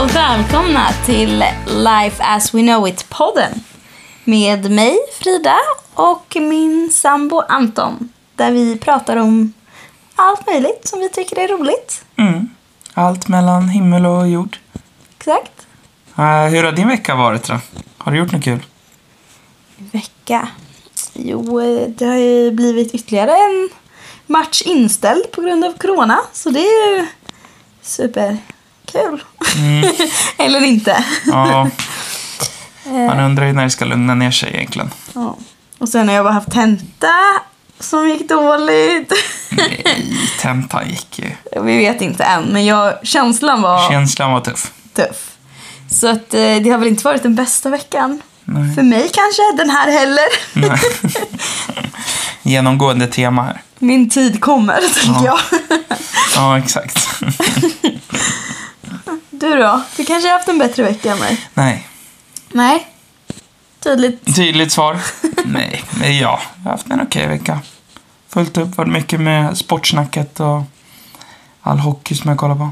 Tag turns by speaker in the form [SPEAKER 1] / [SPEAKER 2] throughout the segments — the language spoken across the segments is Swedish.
[SPEAKER 1] välkomna till Life as we know it-podden. Med mig, Frida, och min sambo Anton. Där vi pratar om allt möjligt som vi tycker är roligt.
[SPEAKER 2] Mm. Allt mellan himmel och jord.
[SPEAKER 1] Exakt.
[SPEAKER 2] Eh, hur har din vecka varit då? Har du gjort något kul?
[SPEAKER 1] Vecka. Jo, eh, det har ju blivit ytterligare en match inställd på grund av corona. Så det är ju superkul. Eller inte.
[SPEAKER 2] Ja, man undrar ju när det ska lugna ner sig egentligen.
[SPEAKER 1] Ja. Och sen har jag bara haft tenta som gick dåligt.
[SPEAKER 2] Nej, tentan gick ju.
[SPEAKER 1] Vi vet inte än, men jag, känslan var
[SPEAKER 2] Känslan var tuff.
[SPEAKER 1] tuff. Så att, eh, det har väl inte varit den bästa veckan.
[SPEAKER 2] Nej.
[SPEAKER 1] För mig kanske, den här heller.
[SPEAKER 2] Mm. Genomgående tema här.
[SPEAKER 1] Min tid kommer, tänker jag.
[SPEAKER 2] Ja, exakt.
[SPEAKER 1] Du då? Du kanske har haft en bättre vecka än mig?
[SPEAKER 2] Nej.
[SPEAKER 1] Nej. Tydligt.
[SPEAKER 2] Tydligt svar. Nej, men ja. Jag har haft en okej vecka. Fullt upp. Varit mycket med sportsnacket och all hockey som jag kollar på.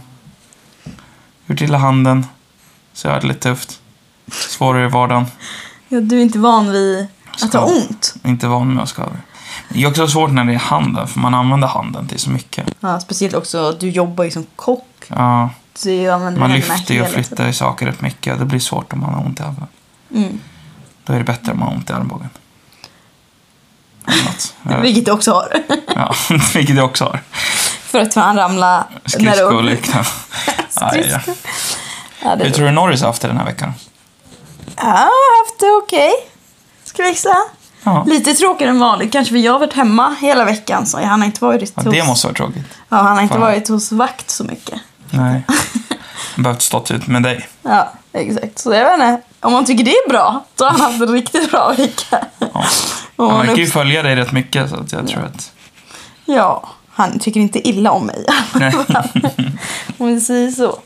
[SPEAKER 2] Gjort illa handen. Så jag har det lite tufft. Svårare i vardagen.
[SPEAKER 1] Ja, du är inte van vid att ha
[SPEAKER 2] Skada.
[SPEAKER 1] ont.
[SPEAKER 2] Inte van med att skada. Det är också svårt när det är handen, för man använder handen till så mycket.
[SPEAKER 1] Ja, speciellt också, du jobbar ju som kock.
[SPEAKER 2] Ja,
[SPEAKER 1] Du använder
[SPEAKER 2] man
[SPEAKER 1] händerna
[SPEAKER 2] lyfter ju och
[SPEAKER 1] hela tiden.
[SPEAKER 2] flyttar ju saker rätt mycket. Det blir svårt om man har ont i armen.
[SPEAKER 1] Mm.
[SPEAKER 2] Då är det bättre om man har ont i armbågen. Eller något. Jag-
[SPEAKER 1] Vilket du också har.
[SPEAKER 2] Ja, vilket jag också har.
[SPEAKER 1] För att fan ramla
[SPEAKER 2] Skridskor och
[SPEAKER 1] när du...
[SPEAKER 2] liknande. Aj, ja.
[SPEAKER 1] Skridskor. Ja, det
[SPEAKER 2] Hur
[SPEAKER 1] är
[SPEAKER 2] tror du Norris har haft det den här veckan?
[SPEAKER 1] Ja, jag har haft det okej. Ska vi växla?
[SPEAKER 2] Ja,
[SPEAKER 1] Lite tråkigare än vanligt kanske, för jag har varit hemma hela veckan så han har inte varit
[SPEAKER 2] ja
[SPEAKER 1] hos,
[SPEAKER 2] det måste vara tråkigt.
[SPEAKER 1] ja, han har inte
[SPEAKER 2] Fan.
[SPEAKER 1] varit hos vakt så mycket.
[SPEAKER 2] Nej. Behövt stått ut med dig.
[SPEAKER 1] Ja, exakt. Så jag vet inte, om man tycker det är bra, då har han haft en riktigt bra vecka.
[SPEAKER 2] Ja.
[SPEAKER 1] Om
[SPEAKER 2] Han
[SPEAKER 1] man
[SPEAKER 2] verkar ju
[SPEAKER 1] upps-
[SPEAKER 2] följa dig rätt mycket så att jag tror att...
[SPEAKER 1] ja, han tycker inte illa om mig.
[SPEAKER 2] Nej.
[SPEAKER 1] om vi säger så.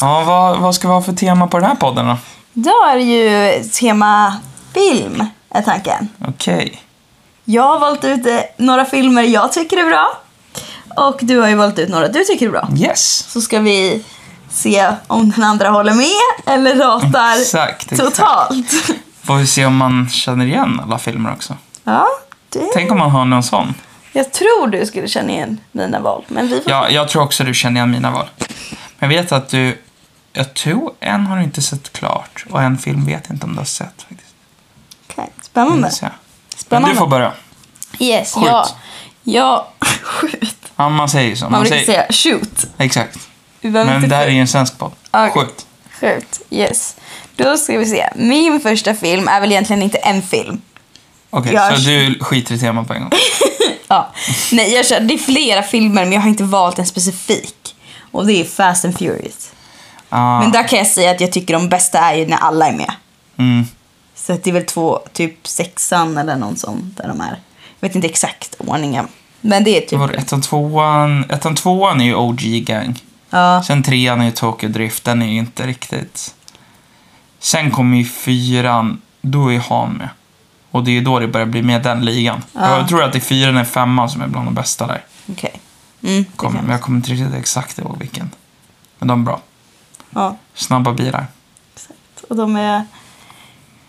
[SPEAKER 2] Ja, vad, vad ska vi ha för tema på den här podden då?
[SPEAKER 1] Idag är det ju tema film, är tanken.
[SPEAKER 2] Okej.
[SPEAKER 1] Jag har valt ut eh, några filmer jag tycker är bra. Och du har ju valt ut några du tycker är bra.
[SPEAKER 2] Yes.
[SPEAKER 1] så ska vi se om den andra håller med eller ratar
[SPEAKER 2] Exakt, exakt.
[SPEAKER 1] totalt.
[SPEAKER 2] Får vi se om man känner igen alla filmer också.
[SPEAKER 1] Ja, det.
[SPEAKER 2] Tänk om man har någon sån.
[SPEAKER 1] Jag tror du skulle känna igen mina val, men vi får...
[SPEAKER 2] Ja, jag tror också du känner igen mina val. Men jag vet att du... Jag tror en har du inte sett klart och en film vet jag inte om du har sett faktiskt.
[SPEAKER 1] Okej,
[SPEAKER 2] Det
[SPEAKER 1] Spännande.
[SPEAKER 2] vill säga. Mm, Men
[SPEAKER 1] Spännande.
[SPEAKER 2] du får börja.
[SPEAKER 1] Yes,
[SPEAKER 2] Skjut.
[SPEAKER 1] ja. Ja, skjut.
[SPEAKER 2] Ja, man säger ju så.
[SPEAKER 1] Man brukar
[SPEAKER 2] säger...
[SPEAKER 1] säga shoot.
[SPEAKER 2] Exakt.
[SPEAKER 1] Vi behöver
[SPEAKER 2] Men
[SPEAKER 1] inte
[SPEAKER 2] det här är
[SPEAKER 1] skjuta.
[SPEAKER 2] ju en svensk podd.
[SPEAKER 1] Okej.
[SPEAKER 2] Skjut.
[SPEAKER 1] Skjut, yes. Då ska vi se. Min första film är väl egentligen inte en film.
[SPEAKER 2] Okej,
[SPEAKER 1] Jag-
[SPEAKER 2] så du skiter i temat på en gång.
[SPEAKER 1] Ja. Nej, jag kör, det är flera filmer men jag har inte valt en specifik. Och det är Fast and Furious.
[SPEAKER 2] Ah,
[SPEAKER 1] Men där kan jag säga att jag tycker de bästa är ju när alla är med.
[SPEAKER 2] mm.
[SPEAKER 1] Så att det är väl två, typ sexan eller någon sån där de är. Jag vet inte exakt ordningen. Men det är
[SPEAKER 2] Det
[SPEAKER 1] typ...
[SPEAKER 2] var ettan, tvåan. Ettan, tvåan är ju OG-gang.
[SPEAKER 1] Ja,
[SPEAKER 2] Sen trean är ju Tokyo Drift, den är ju inte riktigt... Sen kommer ju fyran, då är han med. Och det är ju då det börjar bli med den ligan.
[SPEAKER 1] Ah.
[SPEAKER 2] Jag tror att det är fyran eller femman som är bland de bästa där.
[SPEAKER 1] okej. Mm, det
[SPEAKER 2] Kommer, men
[SPEAKER 1] kan-
[SPEAKER 2] jag kommer inte riktigt exakt ihåg vilken. Men de är bra.
[SPEAKER 1] ja,
[SPEAKER 2] Snabba bilar.
[SPEAKER 1] exakt. Och de är...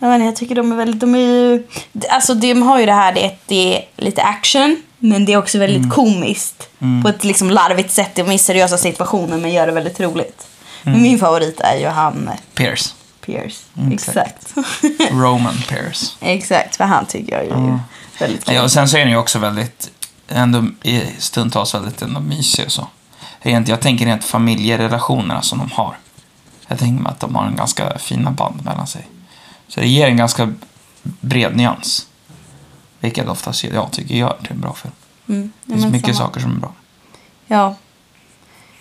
[SPEAKER 1] Jag, vet inte, jag tycker de är väldigt... De är ju... Alltså de har ju det här, det är, det är lite action. Men det är också väldigt
[SPEAKER 2] Mm.
[SPEAKER 1] komiskt. På ett liksom larvigt sätt. De är i seriösa situationer men gör det väldigt roligt. Men min favorit är ju han
[SPEAKER 2] Pierce.
[SPEAKER 1] Pierce.
[SPEAKER 2] Mm,
[SPEAKER 1] exakt.
[SPEAKER 2] Roman Pierce.
[SPEAKER 1] Exakt, för han tycker jag är ju väldigt kul.
[SPEAKER 2] Ja, och sen så är den ju också väldigt, ändå i stundtals väldigt ändå mysig och så. Rent, jag tänker rent familjerelationerna som de har. Jag tänker mig att de har en ganska fina band mellan sig. Så det ger en ganska bred nyans. Vilket oftast jag tycker gör till en bra film.
[SPEAKER 1] Mm,
[SPEAKER 2] Det
[SPEAKER 1] ja,
[SPEAKER 2] finns
[SPEAKER 1] men
[SPEAKER 2] mycket
[SPEAKER 1] samma.
[SPEAKER 2] saker som är bra.
[SPEAKER 1] Ja.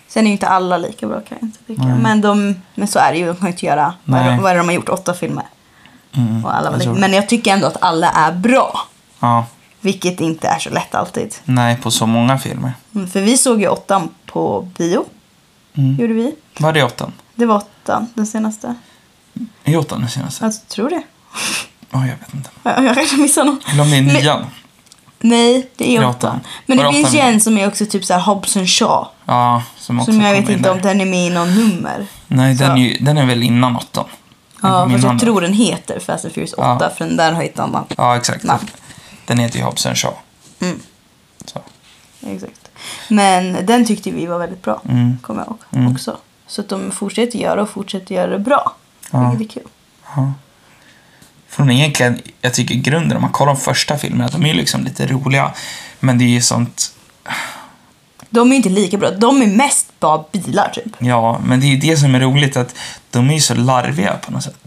[SPEAKER 1] Sen är ju inte alla lika bra kan jag inte tycka.
[SPEAKER 2] Nej.
[SPEAKER 1] Men, de, men så är det ju, de kan ju inte göra. Vad är,
[SPEAKER 2] Nej.
[SPEAKER 1] det- vad är det de har gjort? Åtta filmer.
[SPEAKER 2] Mm,
[SPEAKER 1] Och alla var
[SPEAKER 2] jag
[SPEAKER 1] lika.
[SPEAKER 2] tror-
[SPEAKER 1] Men jag tycker ändå att alla är bra.
[SPEAKER 2] Ja,
[SPEAKER 1] Vilket inte är så lätt alltid.
[SPEAKER 2] nej, på så många filmer.
[SPEAKER 1] Mm, För vi såg ju åttan på bio.
[SPEAKER 2] Mm.
[SPEAKER 1] Gjorde vi.
[SPEAKER 2] Var det åttan?
[SPEAKER 1] Det var åttan, den senaste.
[SPEAKER 2] Är åttan den senaste?
[SPEAKER 1] Jag tror det.
[SPEAKER 2] Ja, jag vet inte.
[SPEAKER 1] Jag jag kanske missar någon.
[SPEAKER 2] Eller om det är
[SPEAKER 1] Men-
[SPEAKER 2] nian?
[SPEAKER 1] Nej, det är
[SPEAKER 2] Det
[SPEAKER 1] åttan.
[SPEAKER 2] är åttan.
[SPEAKER 1] Men
[SPEAKER 2] Var
[SPEAKER 1] det
[SPEAKER 2] det
[SPEAKER 1] finns ju
[SPEAKER 2] åttan?
[SPEAKER 1] en som är också typ så här Hobson Shaw.
[SPEAKER 2] Ja, som också
[SPEAKER 1] Som jag
[SPEAKER 2] kommer
[SPEAKER 1] vet
[SPEAKER 2] in
[SPEAKER 1] inte
[SPEAKER 2] där.
[SPEAKER 1] om den är med i någon nummer.
[SPEAKER 2] Nej, den
[SPEAKER 1] Så-
[SPEAKER 2] är, ju, den är väl innan åttan?
[SPEAKER 1] Ja,
[SPEAKER 2] Innan
[SPEAKER 1] fast jag
[SPEAKER 2] den.
[SPEAKER 1] tror den heter Fast and Furious 8
[SPEAKER 2] Ja.
[SPEAKER 1] för den där har ett annat
[SPEAKER 2] Ja, exakt.
[SPEAKER 1] namn.
[SPEAKER 2] Den heter ju Hobbs and Shaw.
[SPEAKER 1] Mm.
[SPEAKER 2] Så.
[SPEAKER 1] Exakt. Men den tyckte vi var väldigt bra,
[SPEAKER 2] Mm.
[SPEAKER 1] kommer jag ihåg
[SPEAKER 2] Mm.
[SPEAKER 1] också. Så att de fortsätter göra och fortsätter göra det bra.
[SPEAKER 2] Ja.
[SPEAKER 1] Vilket är kul.
[SPEAKER 2] Ja. Från egentligen, jag tycker grunden om man kollar de första filmerna, de är ju liksom lite roliga. Men det är ju sånt,
[SPEAKER 1] De är inte lika bra, de är mest bara bilar typ.
[SPEAKER 2] ja, men det är ju det som är roligt att de är ju så larviga på något sätt.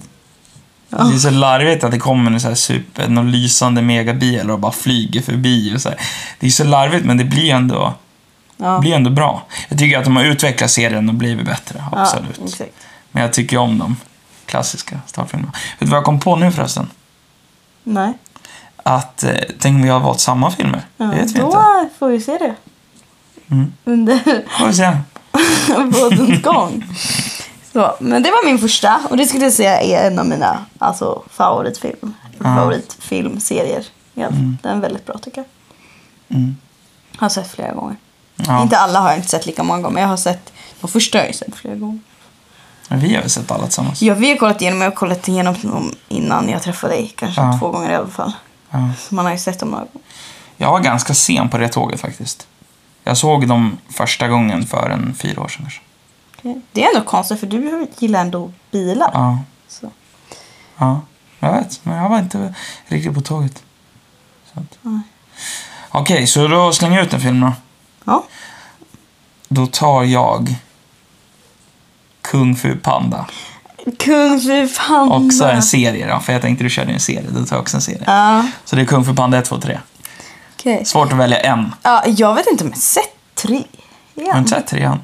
[SPEAKER 1] Ja.
[SPEAKER 2] Det är så larvigt att det kommer en så här super, någon lysande megabil och bara flyger förbi och så här. Det är så larvigt men det blir ju ändå,
[SPEAKER 1] Ja.
[SPEAKER 2] blir ändå bra. Jag tycker att de har utvecklat serien och blivit bättre, absolut.
[SPEAKER 1] Ja, exakt.
[SPEAKER 2] Men jag tycker ju om de klassiska startfilmerna. Vet du vad jag kom på nu förresten?
[SPEAKER 1] Nej.
[SPEAKER 2] Att, eh, tänk om vi har valt samma filmer?
[SPEAKER 1] Ja,
[SPEAKER 2] det vet vi
[SPEAKER 1] då
[SPEAKER 2] inte.
[SPEAKER 1] får vi se det.
[SPEAKER 2] Mm.
[SPEAKER 1] Under
[SPEAKER 2] Får vi se.
[SPEAKER 1] bådens gång. Så, men det var min första och det skulle jag säga är en av mina alltså, favoritfilm,
[SPEAKER 2] Ja.
[SPEAKER 1] favoritfilmserier. Ja, Den är väldigt bra tycker jag.
[SPEAKER 2] Mm.
[SPEAKER 1] Har sett flera gånger.
[SPEAKER 2] Ja.
[SPEAKER 1] Inte alla har jag inte sett lika många gånger men jag har sett de första har jag ju sett flera gånger.
[SPEAKER 2] Men Vi har ju sett alla tillsammans.
[SPEAKER 1] Ja, vi har kollat igenom, jag har kollat igenom dem innan jag träffade dig. Kanske
[SPEAKER 2] Ja.
[SPEAKER 1] två gånger i alla fall.
[SPEAKER 2] Ja.
[SPEAKER 1] Så man har ju sett dem några gånger.
[SPEAKER 2] Jag var ganska sen på det tåget faktiskt. Jag såg dem första gången för en fyra år sedan kanske.
[SPEAKER 1] Okej. Det är ändå konstigt för du gillar ändå bilar.
[SPEAKER 2] Ja,
[SPEAKER 1] Så.
[SPEAKER 2] ja. Jag vet, men jag var inte riktigt på tåget. Så att-
[SPEAKER 1] Nej.
[SPEAKER 2] Okej, så då slänger jag ut en film då.
[SPEAKER 1] Ja.
[SPEAKER 2] Då tar jag Kung Fu Panda.
[SPEAKER 1] Kung Fu Panda.
[SPEAKER 2] Också en serie då, för jag tänkte du körde ju en serie. Då tar jag också en serie.
[SPEAKER 1] Ja,
[SPEAKER 2] Så det är Kung Fu Panda 1, 2, 3.
[SPEAKER 1] okej.
[SPEAKER 2] Svårt att välja en.
[SPEAKER 1] Ja, jag vet inte om jag sett tre.
[SPEAKER 2] Har du
[SPEAKER 1] igen.
[SPEAKER 2] inte sett trean?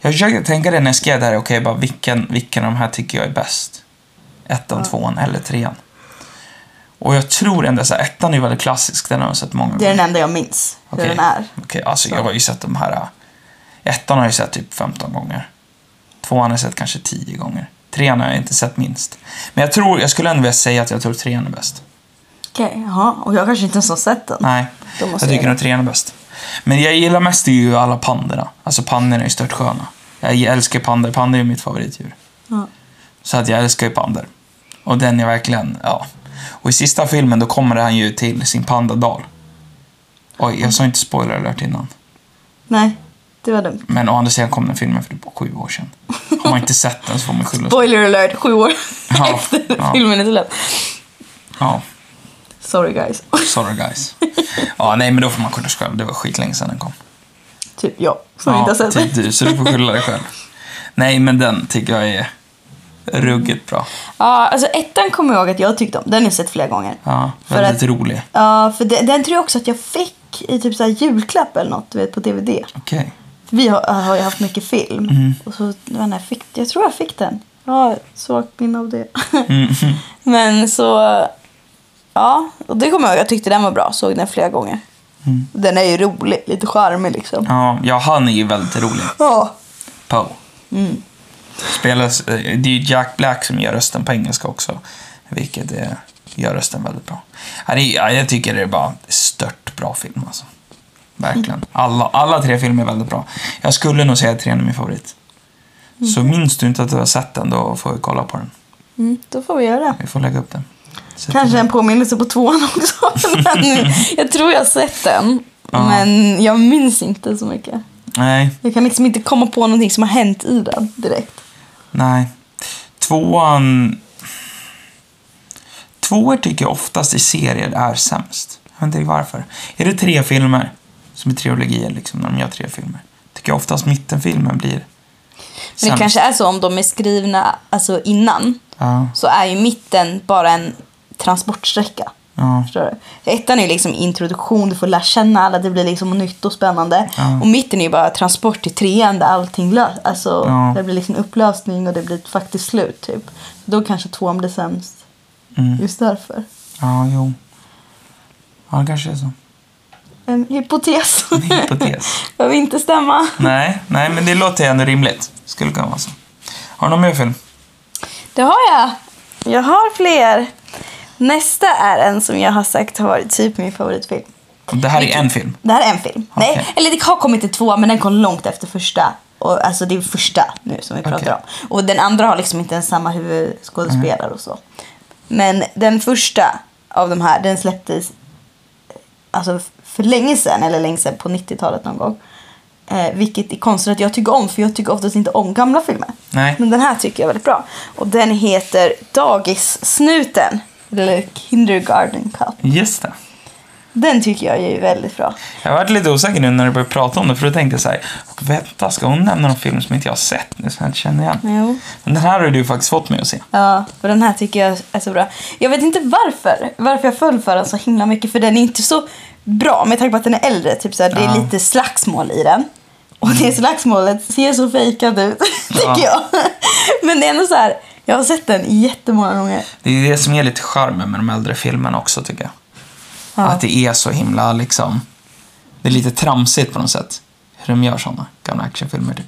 [SPEAKER 2] Jag försökte tänka det när jag skrev det här, okej, bara vilken, vilken av de här tycker jag är bäst? Ettan, tvåan eller trean? Och jag tror ändå så här, ettan är väldigt klassisk, den har jag sett många
[SPEAKER 1] Det är
[SPEAKER 2] gånger.
[SPEAKER 1] den enda jag minns
[SPEAKER 2] Okej.
[SPEAKER 1] hur den är.
[SPEAKER 2] Okej, alltså jag har ju sett de här, äh, ettan har jag ju sett typ 15 gånger. Tvåan har jag sett kanske 10 gånger. Trean har jag inte sett minst. Men jag tror, jag skulle ändå vilja säga att jag tror trean är bäst.
[SPEAKER 1] Okej, jaha. Och jag kanske inte ens har sett den.
[SPEAKER 2] Nej,
[SPEAKER 1] Då
[SPEAKER 2] jag
[SPEAKER 1] måste jag
[SPEAKER 2] tycker
[SPEAKER 1] göra.
[SPEAKER 2] nog trean är bäst. Men det jag gillar mest är ju alla pandorna. Alltså pandorna är ju stört sköna. Jag älskar pandor. Pandor är ju mitt favoritdjur.
[SPEAKER 1] Ja.
[SPEAKER 2] Så att jag älskar ju pandor. Och den är verkligen, ja. Och i sista filmen då kommer han ju till sin pandadal. Oj, jag sa inte spoiler alert innan.
[SPEAKER 1] Nej, det var dumt.
[SPEAKER 2] Men å andra sidan kom den filmen för typ sju år sedan. Har man inte sett den så får man skylla sig.
[SPEAKER 1] Spoiler alert, sju år
[SPEAKER 2] Ja,
[SPEAKER 1] efter
[SPEAKER 2] ja.
[SPEAKER 1] filmen är släppt.
[SPEAKER 2] Ja,
[SPEAKER 1] Sorry guys.
[SPEAKER 2] sorry guys. Ja, nej men då får man skylla sig själv. Det var skitlänge sedan den kom.
[SPEAKER 1] typ jag som inte har sett
[SPEAKER 2] typ
[SPEAKER 1] den.
[SPEAKER 2] du, så du får skylla dig själv. Nej, men den tycker jag är ruggigt bra.
[SPEAKER 1] Ja, alltså ettan kommer jag ihåg att jag tyckte om. Den har jag sett flera gånger.
[SPEAKER 2] Ja,
[SPEAKER 1] För
[SPEAKER 2] väldigt
[SPEAKER 1] att-
[SPEAKER 2] rolig.
[SPEAKER 1] Ja, för den, den tror jag också att jag fick i typ så här julklapp eller något, du vet, på DVD.
[SPEAKER 2] Okej.
[SPEAKER 1] Vi har, har ju haft mycket film.
[SPEAKER 2] Mm.
[SPEAKER 1] Och så, jag, vet inte, jag, fick, jag tror jag fick den. Ja, svagt minne av det.
[SPEAKER 2] Mm.
[SPEAKER 1] Men så... Ja, och det kommer jag ihåg. Jag tyckte den var bra. Såg den flera gånger. Den är ju rolig. Lite charmig liksom.
[SPEAKER 2] Mm. Ja, ja, han är ju väldigt rolig.
[SPEAKER 1] Ja.
[SPEAKER 2] Poe.
[SPEAKER 1] Mm.
[SPEAKER 2] Spelas, eh, det är ju Jack Black som gör rösten på engelska också. Vilket eh, gör rösten väldigt bra. Ja, det är, ja, jag tycker det är bara stört bra film alltså.
[SPEAKER 1] Mm.
[SPEAKER 2] Verkligen. Alla, alla tre filmer är väldigt bra. Jag skulle nog säga att trean är min favorit. Så minns du inte att du har sett den, då får vi kolla på den.
[SPEAKER 1] Mm, då får vi göra det.
[SPEAKER 2] Vi får lägga upp den. Sätt
[SPEAKER 1] Kanske
[SPEAKER 2] den.
[SPEAKER 1] en påminnelse på tvåan också. Men jag tror jag har sett den.
[SPEAKER 2] Ja.
[SPEAKER 1] Men jag minns inte så mycket.
[SPEAKER 2] Nej,
[SPEAKER 1] Jag kan liksom inte komma på någonting som har hänt i den direkt.
[SPEAKER 2] nej. Tvåan... Tvåor tycker jag oftast i serier är sämst. Jag vet inte riktigt varför. Är det tre filmer, som är trilogier, liksom, när de gör tre filmer, tycker jag oftast mittenfilmen blir
[SPEAKER 1] Men det kanske är så om de är skrivna alltså innan.
[SPEAKER 2] Ja,
[SPEAKER 1] Så är ju mitten bara en transportsträcka.
[SPEAKER 2] ja,
[SPEAKER 1] Förstår du? För ettan är ju liksom introduktion, du får lära känna alla, det blir liksom nytt och spännande.
[SPEAKER 2] Ja.
[SPEAKER 1] Och mitten är ju bara transport till trean där allting lö- alltså,
[SPEAKER 2] Ja.
[SPEAKER 1] det blir liksom upplösning och det blir ett faktiskt slut typ. Då kanske tvåan blir sämst
[SPEAKER 2] mm,
[SPEAKER 1] just därför.
[SPEAKER 2] ja, jo. Ja, det kanske är så.
[SPEAKER 1] En hypotes.
[SPEAKER 2] En hypotes.
[SPEAKER 1] Behöver inte stämma.
[SPEAKER 2] nej, nej, men det låter ändå rimligt. Skulle kunna vara så. Har du någon mer film?
[SPEAKER 1] Det har jag. Jag har fler. Nästa är en som jag har sagt har varit typ min favoritfilm.
[SPEAKER 2] Det här är en film.
[SPEAKER 1] Det här är en film.
[SPEAKER 2] Okej.
[SPEAKER 1] Nej, eller det har kommit till två men den kom långt efter första. Och, alltså det är första nu som vi pratar
[SPEAKER 2] Okej. Mm.
[SPEAKER 1] om. Och den andra har liksom inte ens samma huvudskådespelare och så. Men den första av de här, den släpptes alltså, f- för länge sedan, eller länge sedan på 90-talet någon gång. Eh, vilket är konstigt att jag tycker om, för jag tycker oftast inte om gamla filmer.
[SPEAKER 2] Nej.
[SPEAKER 1] Men den här tycker jag väldigt bra. Och den heter Dagissnuten. Eller Kindergarten Cup.
[SPEAKER 2] Just det.
[SPEAKER 1] Den tycker jag är väldigt bra.
[SPEAKER 2] Jag varit lite osäker nu när du började prata om det, för då tänkte jag så här, och vänta, ska hon nämna någon film som inte jag har sett nu, som jag inte känner igen?
[SPEAKER 1] Jo.
[SPEAKER 2] Men den här har du faktiskt fått mig att se.
[SPEAKER 1] Ja, för den här tycker jag är så bra. Jag vet inte varför, varför jag föll för den så himla mycket. För den är inte så bra med tanke på att den är äldre. Typ så här, Det
[SPEAKER 2] Ja. Mm.
[SPEAKER 1] är lite slagsmål i den. Och det slagsmålet ser så fejkat ut,
[SPEAKER 2] Ja.
[SPEAKER 1] tycker jag. Men det är ändå så här, jag har sett den jättemånga gånger.
[SPEAKER 2] Det är det som är lite charmen med de äldre filmerna också, tycker jag.
[SPEAKER 1] Ja.
[SPEAKER 2] Att det är så himla, liksom, det är lite tramsigt på något sätt, hur de gör sådana gamla actionfilmer, typ.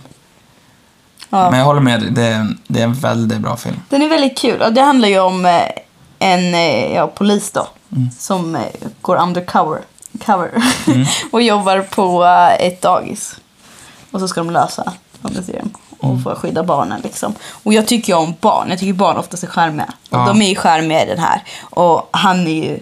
[SPEAKER 1] Ja.
[SPEAKER 2] Men jag håller med dig, det är, en- det är en väldigt bra film.
[SPEAKER 1] Den är väldigt kul och det handlar ju om eh, en eh, ja, polis då som eh, går undercover cover, och jobbar på eh, ett dagis. Och så ska de lösa fantasien och få skydda barnen liksom. Och jag tycker ju om barn, jag tycker barn oftast är charmiga. Och
[SPEAKER 2] Ja.
[SPEAKER 1] de är ju charmiga i den här. Och han är ju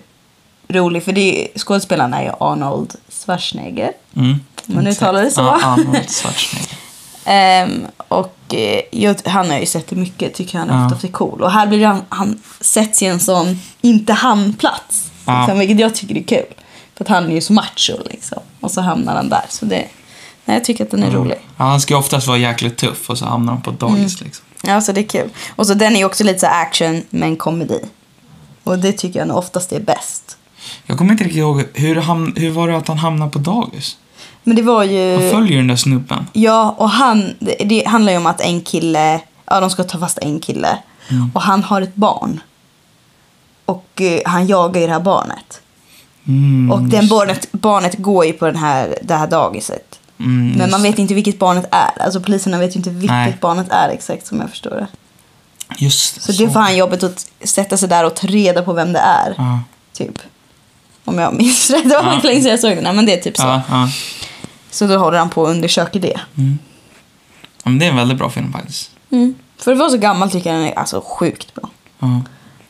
[SPEAKER 1] rolig för det är, ju- skådespelaren är ju Arnold Schwarzenegger.
[SPEAKER 2] Mm.
[SPEAKER 1] Men uttalar det så.
[SPEAKER 2] Ja, Arnold Schwarzenegger.
[SPEAKER 1] Ehm, och eh, jag, han har jag ju sett det mycket, tycker han är
[SPEAKER 2] Ja.
[SPEAKER 1] ofta är cool. Och här blir han, han sätts i en sån inte han-plats.
[SPEAKER 2] Ja.
[SPEAKER 1] Liksom, vilket jag tycker är kul. För att han är ju så macho liksom. Och så hamnar han där. Så det, nej, jag tycker att den är rolig. Mm.
[SPEAKER 2] Ja, han ska ju oftast vara jäkligt tuff och så hamnar han på ett dagis liksom.
[SPEAKER 1] Ja, så det är kul. Och så den är ju också lite så här action, men komedi. Och det tycker jag nog oftast är bäst.
[SPEAKER 2] Jag kommer inte riktigt ihåg, hur, ham- hur var det att han hamnade på dagis?
[SPEAKER 1] Men det var ju...
[SPEAKER 2] Han följer ju den där snubben.
[SPEAKER 1] Ja, och han, det, det handlar ju om att en kille, ja de ska ta fast en kille.
[SPEAKER 2] Mm.
[SPEAKER 1] Och han har ett barn. Och eh, han jagar ju det här barnet.
[SPEAKER 2] Mm,
[SPEAKER 1] och den barnet, barnet går ju på den här, det här dagiset.
[SPEAKER 2] mm,
[SPEAKER 1] Men man
[SPEAKER 2] just-
[SPEAKER 1] vet inte vilket barnet är. Alltså poliserna vet ju inte vilket
[SPEAKER 2] Nej.
[SPEAKER 1] barnet är exakt som jag förstår det.
[SPEAKER 2] Just
[SPEAKER 1] Så det får han jobbet att sätta sig där och ta reda på vem det är.
[SPEAKER 2] Ja,
[SPEAKER 1] Typ. Om jag minns rätt. Det var
[SPEAKER 2] Ja.
[SPEAKER 1] ja. länge sedan jag såg den här, men det är typ så.
[SPEAKER 2] ja, ja. Mm.
[SPEAKER 1] Så då håller han på och undersöker det.
[SPEAKER 2] ja men det är en väldigt bra film faktiskt.
[SPEAKER 1] Mm. För att vara så gammal tycker jag den är alltså sjukt bra.
[SPEAKER 2] Ja.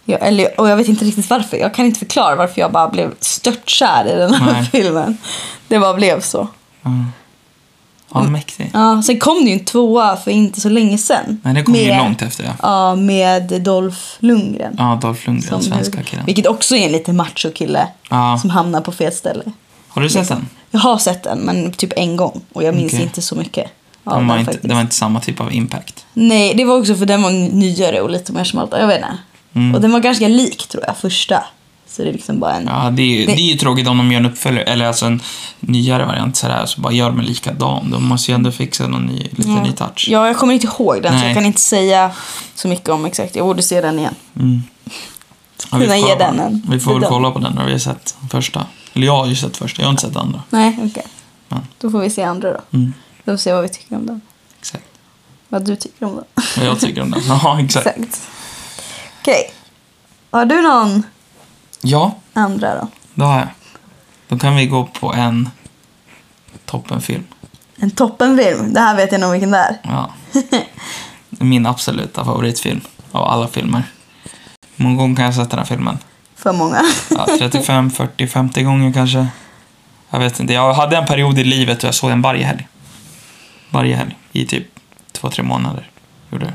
[SPEAKER 1] Jag, eller, och jag vet inte riktigt varför. Jag kan inte förklara varför jag bara blev störtkär i den här
[SPEAKER 2] Nej.
[SPEAKER 1] filmen. Det bara blev så.
[SPEAKER 2] Ja, ja
[SPEAKER 1] Mm.
[SPEAKER 2] mäktig.
[SPEAKER 1] Ja, sen kom det ju en tvåa för inte så länge sen.
[SPEAKER 2] Nej, det kom ju långt efter ja.
[SPEAKER 1] Ja, med Dolph Lundgren.
[SPEAKER 2] Ja, Dolph Lundgren,
[SPEAKER 1] Som-
[SPEAKER 2] svenska killen.
[SPEAKER 1] Vilket också är en lite macho kille
[SPEAKER 2] Ja.
[SPEAKER 1] som hamnar på fel ställe.
[SPEAKER 2] Har du sett den?
[SPEAKER 1] Jag har sett den, men typ en gång. Och jag minns
[SPEAKER 2] Okej.
[SPEAKER 1] inte så mycket av
[SPEAKER 2] Den
[SPEAKER 1] den,
[SPEAKER 2] var inte,
[SPEAKER 1] faktiskt.
[SPEAKER 2] det var inte samma typ av impact.
[SPEAKER 1] Nej, det var också för den var nyare och lite mer smalta. Jag vet inte.
[SPEAKER 2] Mm.
[SPEAKER 1] Och den var ganska lik tror jag, första. Så det är liksom bara en...
[SPEAKER 2] Ja, det är, ju, det...
[SPEAKER 1] Det-
[SPEAKER 2] är ju tråkigt om de gör en uppföljare, eller alltså en nyare variant sådär, så bara gör de en likadan. De måste ju ändå fixa någon ny, lite ny touch.
[SPEAKER 1] Ja, jag kommer inte ihåg den så
[SPEAKER 2] Nej.
[SPEAKER 1] jag kan inte säga så mycket om exakt. Jag borde se den igen.
[SPEAKER 2] Mm. Ja, vi,
[SPEAKER 1] kunna
[SPEAKER 2] får
[SPEAKER 1] ge
[SPEAKER 2] kolla på
[SPEAKER 1] den en
[SPEAKER 2] vi får väl
[SPEAKER 1] bedömning.
[SPEAKER 2] kolla på den när vi har sett första. Eller jag har ju sett första, jag har inte sett andra.
[SPEAKER 1] Nej, okej.
[SPEAKER 2] Ja.
[SPEAKER 1] Då får vi se andra då.
[SPEAKER 2] Mm.
[SPEAKER 1] Då får vi se vad vi tycker om den.
[SPEAKER 2] Exakt.
[SPEAKER 1] Vad du tycker om den.
[SPEAKER 2] Vad jag tycker om den. Ja, exakt.
[SPEAKER 1] exakt. Okej. Har du någon
[SPEAKER 2] Ja,
[SPEAKER 1] andra då?
[SPEAKER 2] det har jag. Då kan vi gå på en toppenfilm.
[SPEAKER 1] En toppenfilm. Det här vet jag nog vilken det är.
[SPEAKER 2] Ja. Min absoluta favoritfilm av alla filmer. Hur många gånger kan jag ha sett den här filmen?
[SPEAKER 1] För många.
[SPEAKER 2] Ja, 35, 40, 50 gånger kanske. Jag vet inte. Jag hade en period i livet då jag såg den varje helg. Varje helg. I typ två, tre månader. Gjorde jag.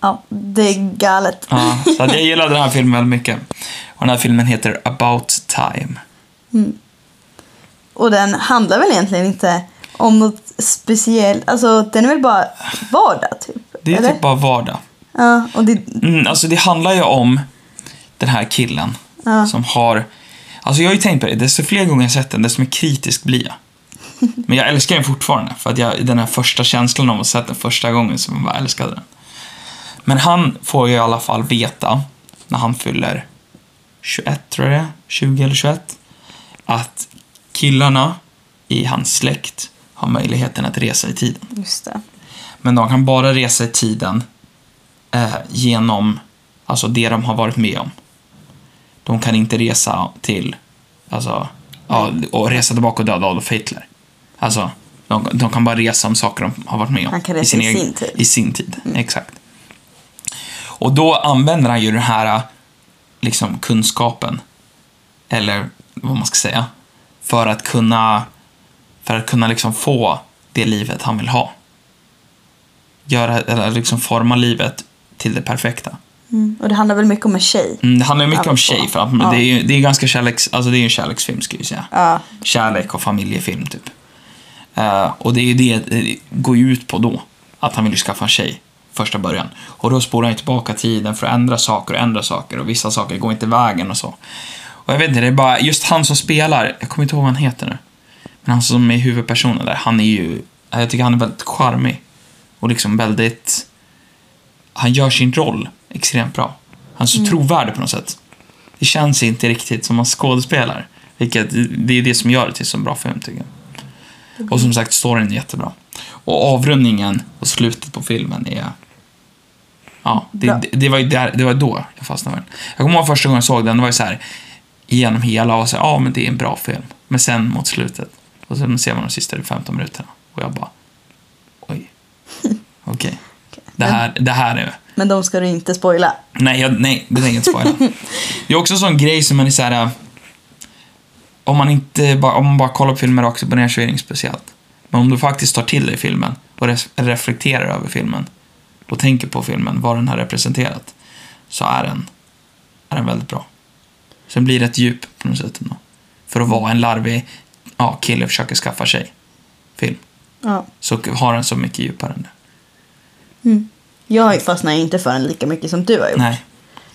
[SPEAKER 1] ja, det är galet.
[SPEAKER 2] Ja, så att jag gillade den här filmen väldigt mycket. Och den här filmen heter About Time.
[SPEAKER 1] Och den handlar väl egentligen inte om något speciellt. Alltså, den är väl bara vardag typ?
[SPEAKER 2] Det är
[SPEAKER 1] eller?
[SPEAKER 2] typ bara vardag.
[SPEAKER 1] Ja, och det...
[SPEAKER 2] Mm, alltså det handlar ju om den här killen
[SPEAKER 1] Ja.
[SPEAKER 2] som har... Alltså jag har ju tänkt på det, desto fler gånger jag sett den, desto mer kritisk blir jag. Men jag älskar den fortfarande, för att jag, den här första känslan av att ha sett den första gången, så man bara älskade den. Men han får ju i alla fall veta, när han fyller 21 tror jag det är, 20 eller 21, att killarna i hans släkt har möjligheten att resa i tiden.
[SPEAKER 1] Just det.
[SPEAKER 2] Men de kan bara resa i tiden eh, genom alltså det de har varit med om. De kan inte resa till, alltså, ja, och resa tillbaka och döda Adolf Hitler. Alltså, De, de kan bara resa om saker de har varit med om.
[SPEAKER 1] Han kan resa i sin tid. Mm.
[SPEAKER 2] I sin tid, exakt. Och då använder han ju den här liksom, kunskapen, eller vad man ska säga, för att kunna, för att kunna liksom få det livet han vill ha. Göra, eller liksom forma livet till det perfekta.
[SPEAKER 1] Mm. Och det handlar väl mycket om en tjej.
[SPEAKER 2] Mm, det handlar mycket om
[SPEAKER 1] Alltså,
[SPEAKER 2] tjej, för att
[SPEAKER 1] ja.
[SPEAKER 2] det är ju det är ganska kärleks, alltså det är ju en kärleksfilm skulle jag säga.
[SPEAKER 1] Ja.
[SPEAKER 2] Kärlek och familjefilm typ. Eh, och det är ju det det går ju ut på då, att han vill ju skaffa en tjej första början. Och då spårar han ju tillbaka tiden för att ändra saker och ändra saker och vissa saker går inte vägen och så. Och jag vet inte, det är bara just han som spelar, jag kommer inte ihåg vad han heter nu. Men han som är huvudpersonen där, han är ju, jag tycker han är väldigt charmig. Och liksom väldigt, han gör sin roll extremt bra. Han är så trovärdig på något sätt. Det känns inte riktigt som han skådespelar. Vilket, det är det som gör det till så bra film tycker jag. Och som sagt, storyn är jättebra. Och avrundningen och slutet på filmen är... Ja, det,
[SPEAKER 1] Bra.
[SPEAKER 2] det, det var ju där, det var då jag fastnade för den. Jag kommer ihåg första gången jag såg den, det var ju så här genom hela och så här, ja men det är en bra film. Men sen mot slutet, och sen ser man de sista 15 minuterna och jag bara, oj, okej. Det, här, det här är...
[SPEAKER 1] Men de ska du inte spoila.
[SPEAKER 2] Nej, jag, nej det tänker jag inte spoila. det är också en sån grej som man är så här. äh, Om man, inte bara, om man bara kollar på filmer rakt upp och ner så är det inget speciellt. Men om du faktiskt tar till dig filmen och res- reflekterar över filmen och tänker på filmen, vad den har representerat, så är den, är den väldigt bra. Sen blir det ett djup på något sätt ändå. För att vara en larvig ja, kille försöker skaffa sig film,
[SPEAKER 1] Ja.
[SPEAKER 2] så har den så mycket djupare än det.
[SPEAKER 1] Jag fastnar inte för den lika mycket som du har gjort.
[SPEAKER 2] Nej,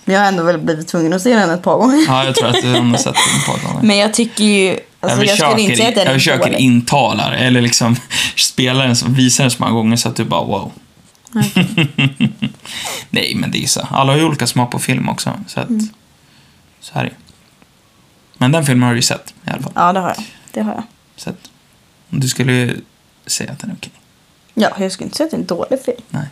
[SPEAKER 1] Men jag har ändå väl blivit tvungen att se den ett par gånger.
[SPEAKER 2] ja, jag tror att du har sett den på ett annat.
[SPEAKER 1] Men jag tycker ju... Alltså, jag, skulle inte säga att den
[SPEAKER 2] jag
[SPEAKER 1] är
[SPEAKER 2] försöker
[SPEAKER 1] dålig.
[SPEAKER 2] intala det, eller liksom spela den, så- visa den så många gånger så att du bara wow. Nej, men det är så. Alla har ju olika smak på film också, så att...
[SPEAKER 1] Mm.
[SPEAKER 2] Så här är det. Men den filmen har du ju sett i alla fall.
[SPEAKER 1] Ja, det har jag. Det har jag.
[SPEAKER 2] Så att, du skulle ju säga att den är okej.
[SPEAKER 1] Ja, jag skulle inte säga att det är en dålig film.
[SPEAKER 2] Nej.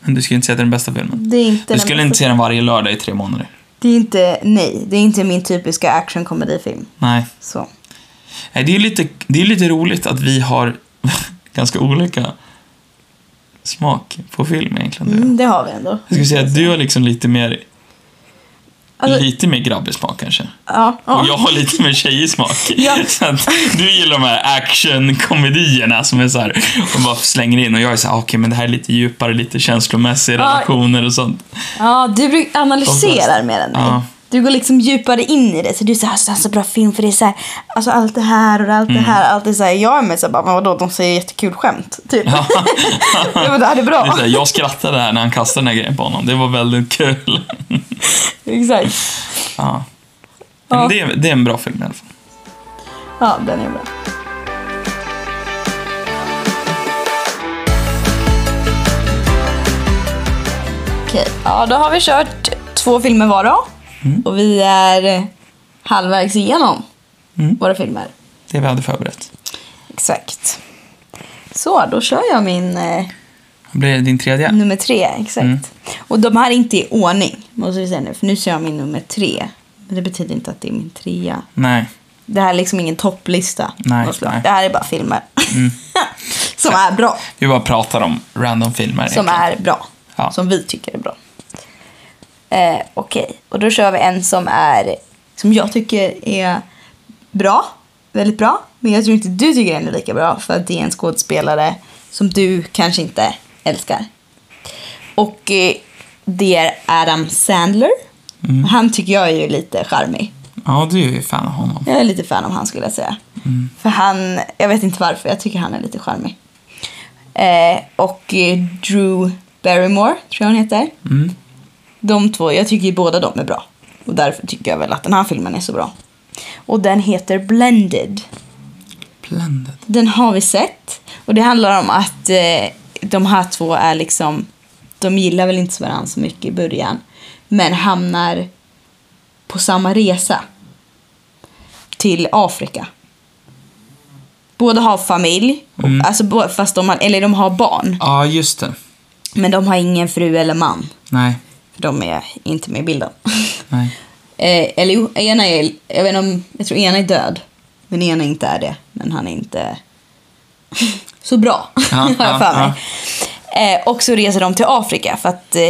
[SPEAKER 2] Men du skulle inte säga att det är den bästa filmen.
[SPEAKER 1] Det är inte
[SPEAKER 2] Du
[SPEAKER 1] den
[SPEAKER 2] skulle
[SPEAKER 1] bästa-
[SPEAKER 2] inte se den varje lördag i tre månader.
[SPEAKER 1] Det är inte, nej, det är inte min typiska actionkomedifilm.
[SPEAKER 2] Nej.
[SPEAKER 1] Så.
[SPEAKER 2] Nej, det är ju lite, det är lite roligt att vi har ganska olika smak på film egentligen. du och jag.
[SPEAKER 1] Mm, det har vi ändå.
[SPEAKER 2] Jag skulle säga att du har liksom lite mer,
[SPEAKER 1] Alltså-
[SPEAKER 2] lite mer grabbig smak kanske.
[SPEAKER 1] Ja,
[SPEAKER 2] Och
[SPEAKER 1] ja.
[SPEAKER 2] jag har lite mer tjejig smak.
[SPEAKER 1] Ja.
[SPEAKER 2] Så att du gillar de här actionkomedierna som är så här, och bara slänger in. Och jag är så här, "Ah, okej men det här är lite djupare, lite känslomässiga
[SPEAKER 1] Ja.
[SPEAKER 2] relationer och sånt.
[SPEAKER 1] ja du bruk- analyserar mer än mig.
[SPEAKER 2] Ja.
[SPEAKER 1] Du går liksom djupare in i det. Så du säger alltså, det här är så bra film för det är så här, alltså allt det här och allt
[SPEAKER 2] Mm.
[SPEAKER 1] det här. Allt det så här. Jag är med så här, bara, men vadå, de säger jättekul skämt. Typ. Ja. men det här är
[SPEAKER 2] Det är
[SPEAKER 1] bra.
[SPEAKER 2] så här, jag skrattade här när han kastade den här grejen på honom. Det var väldigt kul.
[SPEAKER 1] Exakt.
[SPEAKER 2] Ja.
[SPEAKER 1] Ja.
[SPEAKER 2] Men det, är, det är en bra film i alla fall.
[SPEAKER 1] Ja, den är bra. Okej, ja då har vi kört två filmer var då. Och vi är halvvägs igenom
[SPEAKER 2] Mm.
[SPEAKER 1] våra filmer.
[SPEAKER 2] Det vi hade förberett.
[SPEAKER 1] Exakt. Så, då kör jag min eh,
[SPEAKER 2] Vad blir det din tredje?
[SPEAKER 1] nummer tre. Exakt.
[SPEAKER 2] Mm.
[SPEAKER 1] Och de här är inte i ordning, måste vi säga nu. För nu kör jag min nummer tre. Men det betyder inte att det är min trea.
[SPEAKER 2] Nej.
[SPEAKER 1] Det här är liksom ingen topplista.
[SPEAKER 2] Nej,
[SPEAKER 1] Och så.
[SPEAKER 2] nej. Mm.
[SPEAKER 1] Det här är bara filmer. som är bra.
[SPEAKER 2] Vi bara pratar om random filmer.
[SPEAKER 1] Som
[SPEAKER 2] egentligen.
[SPEAKER 1] är bra.
[SPEAKER 2] Ja.
[SPEAKER 1] Som vi tycker är bra. Eh, Okej, och då kör vi en som är som jag tycker är bra. Väldigt bra. Men jag tror inte du tycker den är lika bra för att det är en skådespelare som du kanske inte älskar. Och eh, det är Adam Sandler.
[SPEAKER 2] Mm.
[SPEAKER 1] Han tycker jag är ju lite charmig.
[SPEAKER 2] Ja, du är ju fan av honom.
[SPEAKER 1] Jag är lite fan av han skulle jag säga. För han, jag vet inte varför, jag tycker han är lite charmig. Eh, och eh, Drew Barrymore, tror jag hon heter.
[SPEAKER 2] Mm.
[SPEAKER 1] De två, jag tycker ju båda de är bra. Och därför tycker jag väl att den här filmen är så bra. Och den heter Blended.
[SPEAKER 2] Blended.
[SPEAKER 1] Den har vi sett. Och det handlar om att eh, de här två är liksom, de gillar väl inte varandra så mycket i början. Men hamnar på samma resa. Till Afrika. Båda har familj, och-
[SPEAKER 2] Mm.
[SPEAKER 1] alltså, bo- fast de har, eller de har barn.
[SPEAKER 2] Ja, just det.
[SPEAKER 1] Men de har ingen fru eller man.
[SPEAKER 2] Nej.
[SPEAKER 1] För de är inte med i bilden.
[SPEAKER 2] Nej.
[SPEAKER 1] Eh, eller jo, ena är, jag vet inte om, jag tror ena är död. Men ena inte är det. Men han är inte Så bra,
[SPEAKER 2] Ja,
[SPEAKER 1] har jag
[SPEAKER 2] ja,
[SPEAKER 1] för mig. Eh, och så reser de till Afrika för att, eh,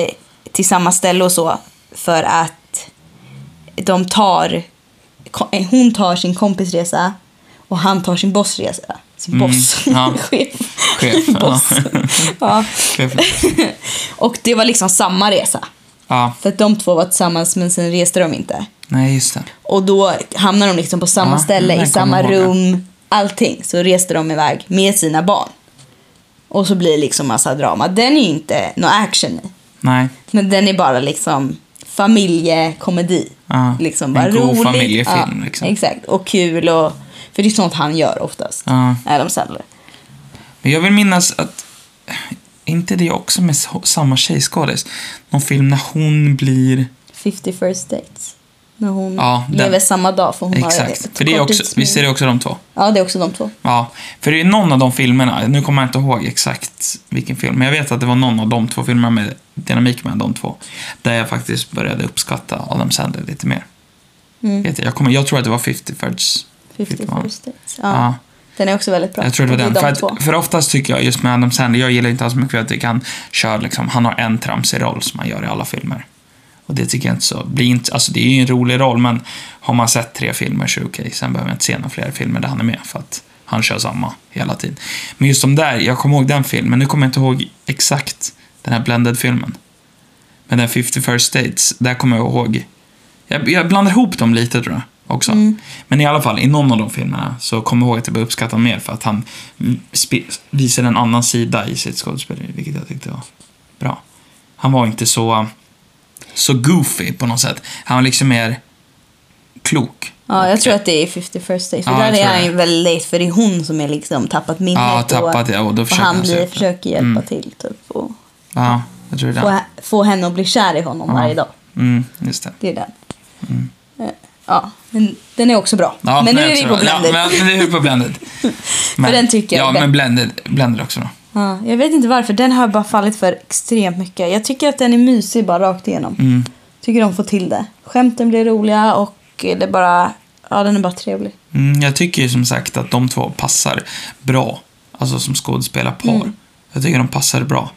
[SPEAKER 1] till samma ställe och så. För att de tar, ko- eh, hon tar sin kompis resa och han tar sin boss resa. Sin
[SPEAKER 2] Mm,
[SPEAKER 1] boss,
[SPEAKER 2] ja.
[SPEAKER 1] chef.
[SPEAKER 2] Chef, ja.
[SPEAKER 1] boss. Ja.
[SPEAKER 2] Chef.
[SPEAKER 1] och det var liksom samma resa.
[SPEAKER 2] Ja,
[SPEAKER 1] För att de två var tillsammans men sen reste de inte.
[SPEAKER 2] nej just det.
[SPEAKER 1] Och då hamnar de liksom på samma
[SPEAKER 2] Ja,
[SPEAKER 1] ställe,
[SPEAKER 2] jag
[SPEAKER 1] i
[SPEAKER 2] kommer
[SPEAKER 1] samma
[SPEAKER 2] ihåg det.
[SPEAKER 1] rum, allting. Så reste de iväg med sina barn. Och så blir det liksom massa drama. Den är ju inte någon action i.
[SPEAKER 2] Nej.
[SPEAKER 1] Men den är bara liksom familjekomedi.
[SPEAKER 2] Ja,
[SPEAKER 1] Liksom
[SPEAKER 2] en
[SPEAKER 1] bara
[SPEAKER 2] god
[SPEAKER 1] rolig.
[SPEAKER 2] familjefilm, liksom.
[SPEAKER 1] Exakt, och kul och... För det är sånt han gör oftast.
[SPEAKER 2] Ja.
[SPEAKER 1] Adam Sandler.
[SPEAKER 2] Men jag vill minnas att, inte det också med s- samma tjejskådis? Någon film när hon blir,
[SPEAKER 1] 50 first dates. När hon
[SPEAKER 2] Ja, den.
[SPEAKER 1] lever samma dag för hon har
[SPEAKER 2] exakt. För det är
[SPEAKER 1] kort
[SPEAKER 2] också,
[SPEAKER 1] tidsminne.
[SPEAKER 2] visst är det också de två?
[SPEAKER 1] Ja, det är också de två.
[SPEAKER 2] Ja, för det är någon av de filmerna, nu kommer jag inte ihåg exakt vilken film, men jag vet att det var någon av de två filmerna med dynamik mellan de två, där jag faktiskt började uppskatta Adam Sandler lite mer.
[SPEAKER 1] Mm.
[SPEAKER 2] Vet jag, jag, kommer, jag tror att det var 50 First.
[SPEAKER 1] 50
[SPEAKER 2] Ja.
[SPEAKER 1] first dates. Ja.
[SPEAKER 2] Ja,
[SPEAKER 1] Den är också väldigt bra.
[SPEAKER 2] jag tror det var
[SPEAKER 1] är
[SPEAKER 2] den.
[SPEAKER 1] de
[SPEAKER 2] För,
[SPEAKER 1] två.
[SPEAKER 2] att, för oftast tycker jag just med Adam Sandler, jag gillar inte hans mycket för jag tycker han kör liksom, han har en tramsig roll som han gör i alla filmer. Och det tycker jag inte så, blir inte, alltså det är ju en rolig roll men har man sett tre filmer så är det okej, sen behöver jag inte se några fler filmer där han är med för att han kör samma hela tiden. Men just de där, jag kommer ihåg den filmen, nu kommer jag inte ihåg exakt den här Blended-filmen. Men den 50 First Dates, där kommer jag ihåg, jag, jag blandar ihop dem lite tror jag också.
[SPEAKER 1] Mm.
[SPEAKER 2] Men i alla fall, i någon av de filmerna så kommer jag ihåg att jag började uppskatta honom mer för att han spe- visade en annan sida i sitt skådespeleri, vilket jag tyckte var bra. Han var inte så, så goofy på något sätt. Han var liksom mer klok.
[SPEAKER 1] Ja, jag tror att det är 50 first days. För
[SPEAKER 2] Ja,
[SPEAKER 1] där
[SPEAKER 2] jag
[SPEAKER 1] är
[SPEAKER 2] tror det.
[SPEAKER 1] han ju väldigt, för det är hon som är liksom tappat minnet.
[SPEAKER 2] Ja, tappat
[SPEAKER 1] och,
[SPEAKER 2] det och då
[SPEAKER 1] och
[SPEAKER 2] försöker
[SPEAKER 1] han
[SPEAKER 2] sig
[SPEAKER 1] blir,
[SPEAKER 2] upp.
[SPEAKER 1] försöker hjälpa
[SPEAKER 2] Mm.
[SPEAKER 1] till typ. Och
[SPEAKER 2] Ja, jag tror det. är
[SPEAKER 1] få,
[SPEAKER 2] den.
[SPEAKER 1] få henne att bli kär i honom
[SPEAKER 2] Ja.
[SPEAKER 1] varje dag.
[SPEAKER 2] Mm, just det.
[SPEAKER 1] Det är den. Eh, Ja, men den är också bra.
[SPEAKER 2] Ja,
[SPEAKER 1] men nu
[SPEAKER 2] jag
[SPEAKER 1] är vi
[SPEAKER 2] tror
[SPEAKER 1] på
[SPEAKER 2] det.
[SPEAKER 1] Blended.
[SPEAKER 2] Ja, men nu är vi på Blended. Men,
[SPEAKER 1] den tycker jag är
[SPEAKER 2] Ja,
[SPEAKER 1] bäst.
[SPEAKER 2] men Blended, blended också då.
[SPEAKER 1] Ja, jag vet inte varför, den har bara fallit för extremt mycket. Jag tycker att den är mysig bara rakt igenom.
[SPEAKER 2] Mm.
[SPEAKER 1] Tycker de får till det. Skämten blir roliga och det är bara, ja den är bara trevlig.
[SPEAKER 2] Mm, jag tycker ju som sagt att de två passar bra. Alltså som skådespelarpar.
[SPEAKER 1] Mm.
[SPEAKER 2] Jag tycker de passar bra.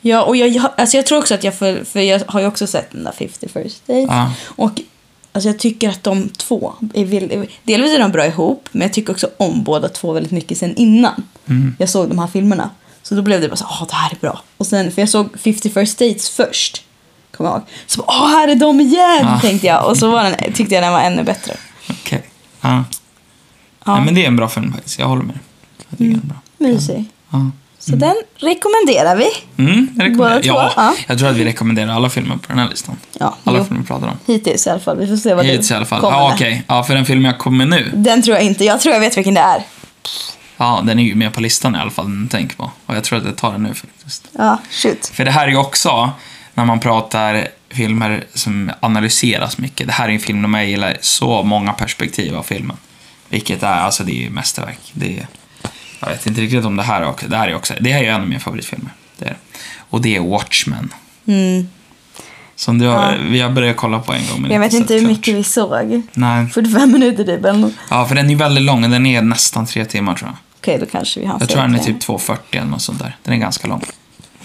[SPEAKER 1] Ja, och jag- jag, alltså jag tror också att jag, för, för jag har ju också sett den där 50 first dates.
[SPEAKER 2] Ja.
[SPEAKER 1] Och alltså jag tycker att de två, är, väl- delvis är de bra ihop, men jag tycker också om båda två väldigt mycket sen innan
[SPEAKER 2] Mm.
[SPEAKER 1] jag såg de här filmerna. Så då blev det bara så ah det här är bra. Och sen, för jag såg 50 first dates först, kommer jag ihåg. Så bara, ah här är de igen,
[SPEAKER 2] Ja.
[SPEAKER 1] tänkte jag. Och så var den, tyckte jag den var ännu bättre.
[SPEAKER 2] Okej. Ja.
[SPEAKER 1] Ja, Mm.
[SPEAKER 2] Nej, men det är en bra film faktiskt. Jag håller med. Jag tycker den är bra.
[SPEAKER 1] mysig.
[SPEAKER 2] Ja.
[SPEAKER 1] Så den rekommenderar vi.
[SPEAKER 2] Mm, jag rekommenderar.
[SPEAKER 1] Båda två,
[SPEAKER 2] ja,
[SPEAKER 1] ja.
[SPEAKER 2] Jag tror att vi rekommenderar alla filmer på den här listan.
[SPEAKER 1] Ja,
[SPEAKER 2] Alla
[SPEAKER 1] jo.
[SPEAKER 2] filmer vi pratar om.
[SPEAKER 1] Hittills i alla fall. Vi får se vad
[SPEAKER 2] Hittills i
[SPEAKER 1] du
[SPEAKER 2] alla fall.
[SPEAKER 1] kommer
[SPEAKER 2] Ja,
[SPEAKER 1] med.
[SPEAKER 2] okej. Ja, för den filmen jag kommer nu.
[SPEAKER 1] Den tror jag inte. Jag tror jag vet vilken det är.
[SPEAKER 2] Ja, den är ju med på listan i alla fall. Den tänker på. Och jag tror att jag tar den nu faktiskt.
[SPEAKER 1] Ja, shoot.
[SPEAKER 2] För det här är ju också, när man pratar filmer som analyseras mycket. Det här är en film där jag gillar så många perspektiv av filmen. Vilket är, alltså det är ju mästerverk. Det är, jag vet inte riktigt om det här är också, det här är också, det här är ju en av mina favoritfilmer. Det är, det. och det är Watchmen.
[SPEAKER 1] Mm.
[SPEAKER 2] Som du har, vi har börjat kolla på en gång. men
[SPEAKER 1] Jag vet
[SPEAKER 2] sett
[SPEAKER 1] inte hur
[SPEAKER 2] klart. Mm.
[SPEAKER 1] mycket vi såg.
[SPEAKER 2] Nej.
[SPEAKER 1] 45 minuter typ. eller nå-
[SPEAKER 2] Ja, för den är ju väldigt lång, den är nästan tre timmar tror jag.
[SPEAKER 1] Okej, då kanske vi har
[SPEAKER 2] Jag tror den är typ 2,40 eller något sånt där. Den är ganska lång.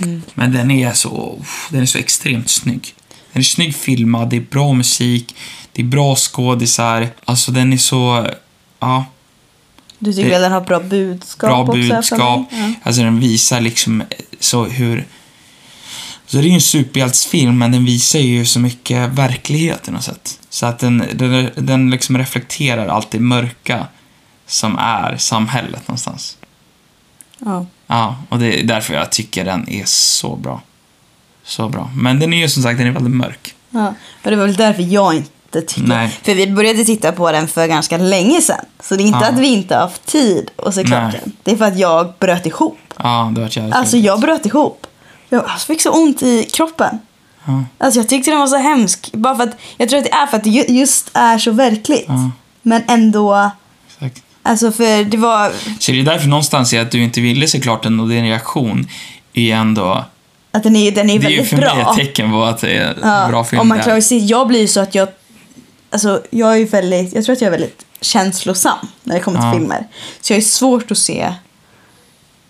[SPEAKER 1] Mm.
[SPEAKER 2] Men den är så, uff, den är så extremt snygg. Den är snygg filmad, det är bra musik, det är bra skådisar. Alltså den är så, ja,
[SPEAKER 1] Du tycker
[SPEAKER 2] det-
[SPEAKER 1] att den har bra budskap
[SPEAKER 2] bra
[SPEAKER 1] också? jag har för
[SPEAKER 2] budskap.
[SPEAKER 1] mig. Ja.
[SPEAKER 2] Alltså den visar liksom eh, så hur... Så det är ju en superhjältsfilm, men den visar ju så mycket verklighet i något sätt. Så att den, den, den liksom reflekterar allt det mörka som är samhället någonstans.
[SPEAKER 1] Ja.
[SPEAKER 2] Ja, och det är därför jag tycker den är så bra. Så bra. Men den är ju som sagt, den är väldigt mörk.
[SPEAKER 1] Ja. Och det var väl därför jag inte tyckte...
[SPEAKER 2] Nej.
[SPEAKER 1] För vi började titta på den för ganska länge sedan. Så det är inte
[SPEAKER 2] Ja.
[SPEAKER 1] att vi inte har haft tid att se klart
[SPEAKER 2] Nej.
[SPEAKER 1] den. Det är för att jag bröt ihop.
[SPEAKER 2] Ja, det vart jävligt
[SPEAKER 1] Alltså
[SPEAKER 2] jobbigt.
[SPEAKER 1] jag bröt ihop. Jag alltså, fick så ont i kroppen.
[SPEAKER 2] Ja.
[SPEAKER 1] Alltså jag tyckte den var så hemsk. Bara för att, jag tror att det är för att det ju- just är så verkligt.
[SPEAKER 2] Ja.
[SPEAKER 1] Men ändå...
[SPEAKER 2] Exakt.
[SPEAKER 1] Alltså för det var...
[SPEAKER 2] Så det är därför någonstans är att du inte ville se klart den och din reaktion är ändå...
[SPEAKER 1] Att den är, den är
[SPEAKER 2] Det är ju
[SPEAKER 1] väldigt
[SPEAKER 2] för mig
[SPEAKER 1] bra.
[SPEAKER 2] ett tecken på att det är en
[SPEAKER 1] Ja,
[SPEAKER 2] bra film.
[SPEAKER 1] och man
[SPEAKER 2] där.
[SPEAKER 1] klarar ju sitt- Jag blir ju så att jag... Alltså, jag är ju väldigt... Jag tror att jag är väldigt känslosam när det kommer till
[SPEAKER 2] Ja.
[SPEAKER 1] filmer. Så jag är svårt att se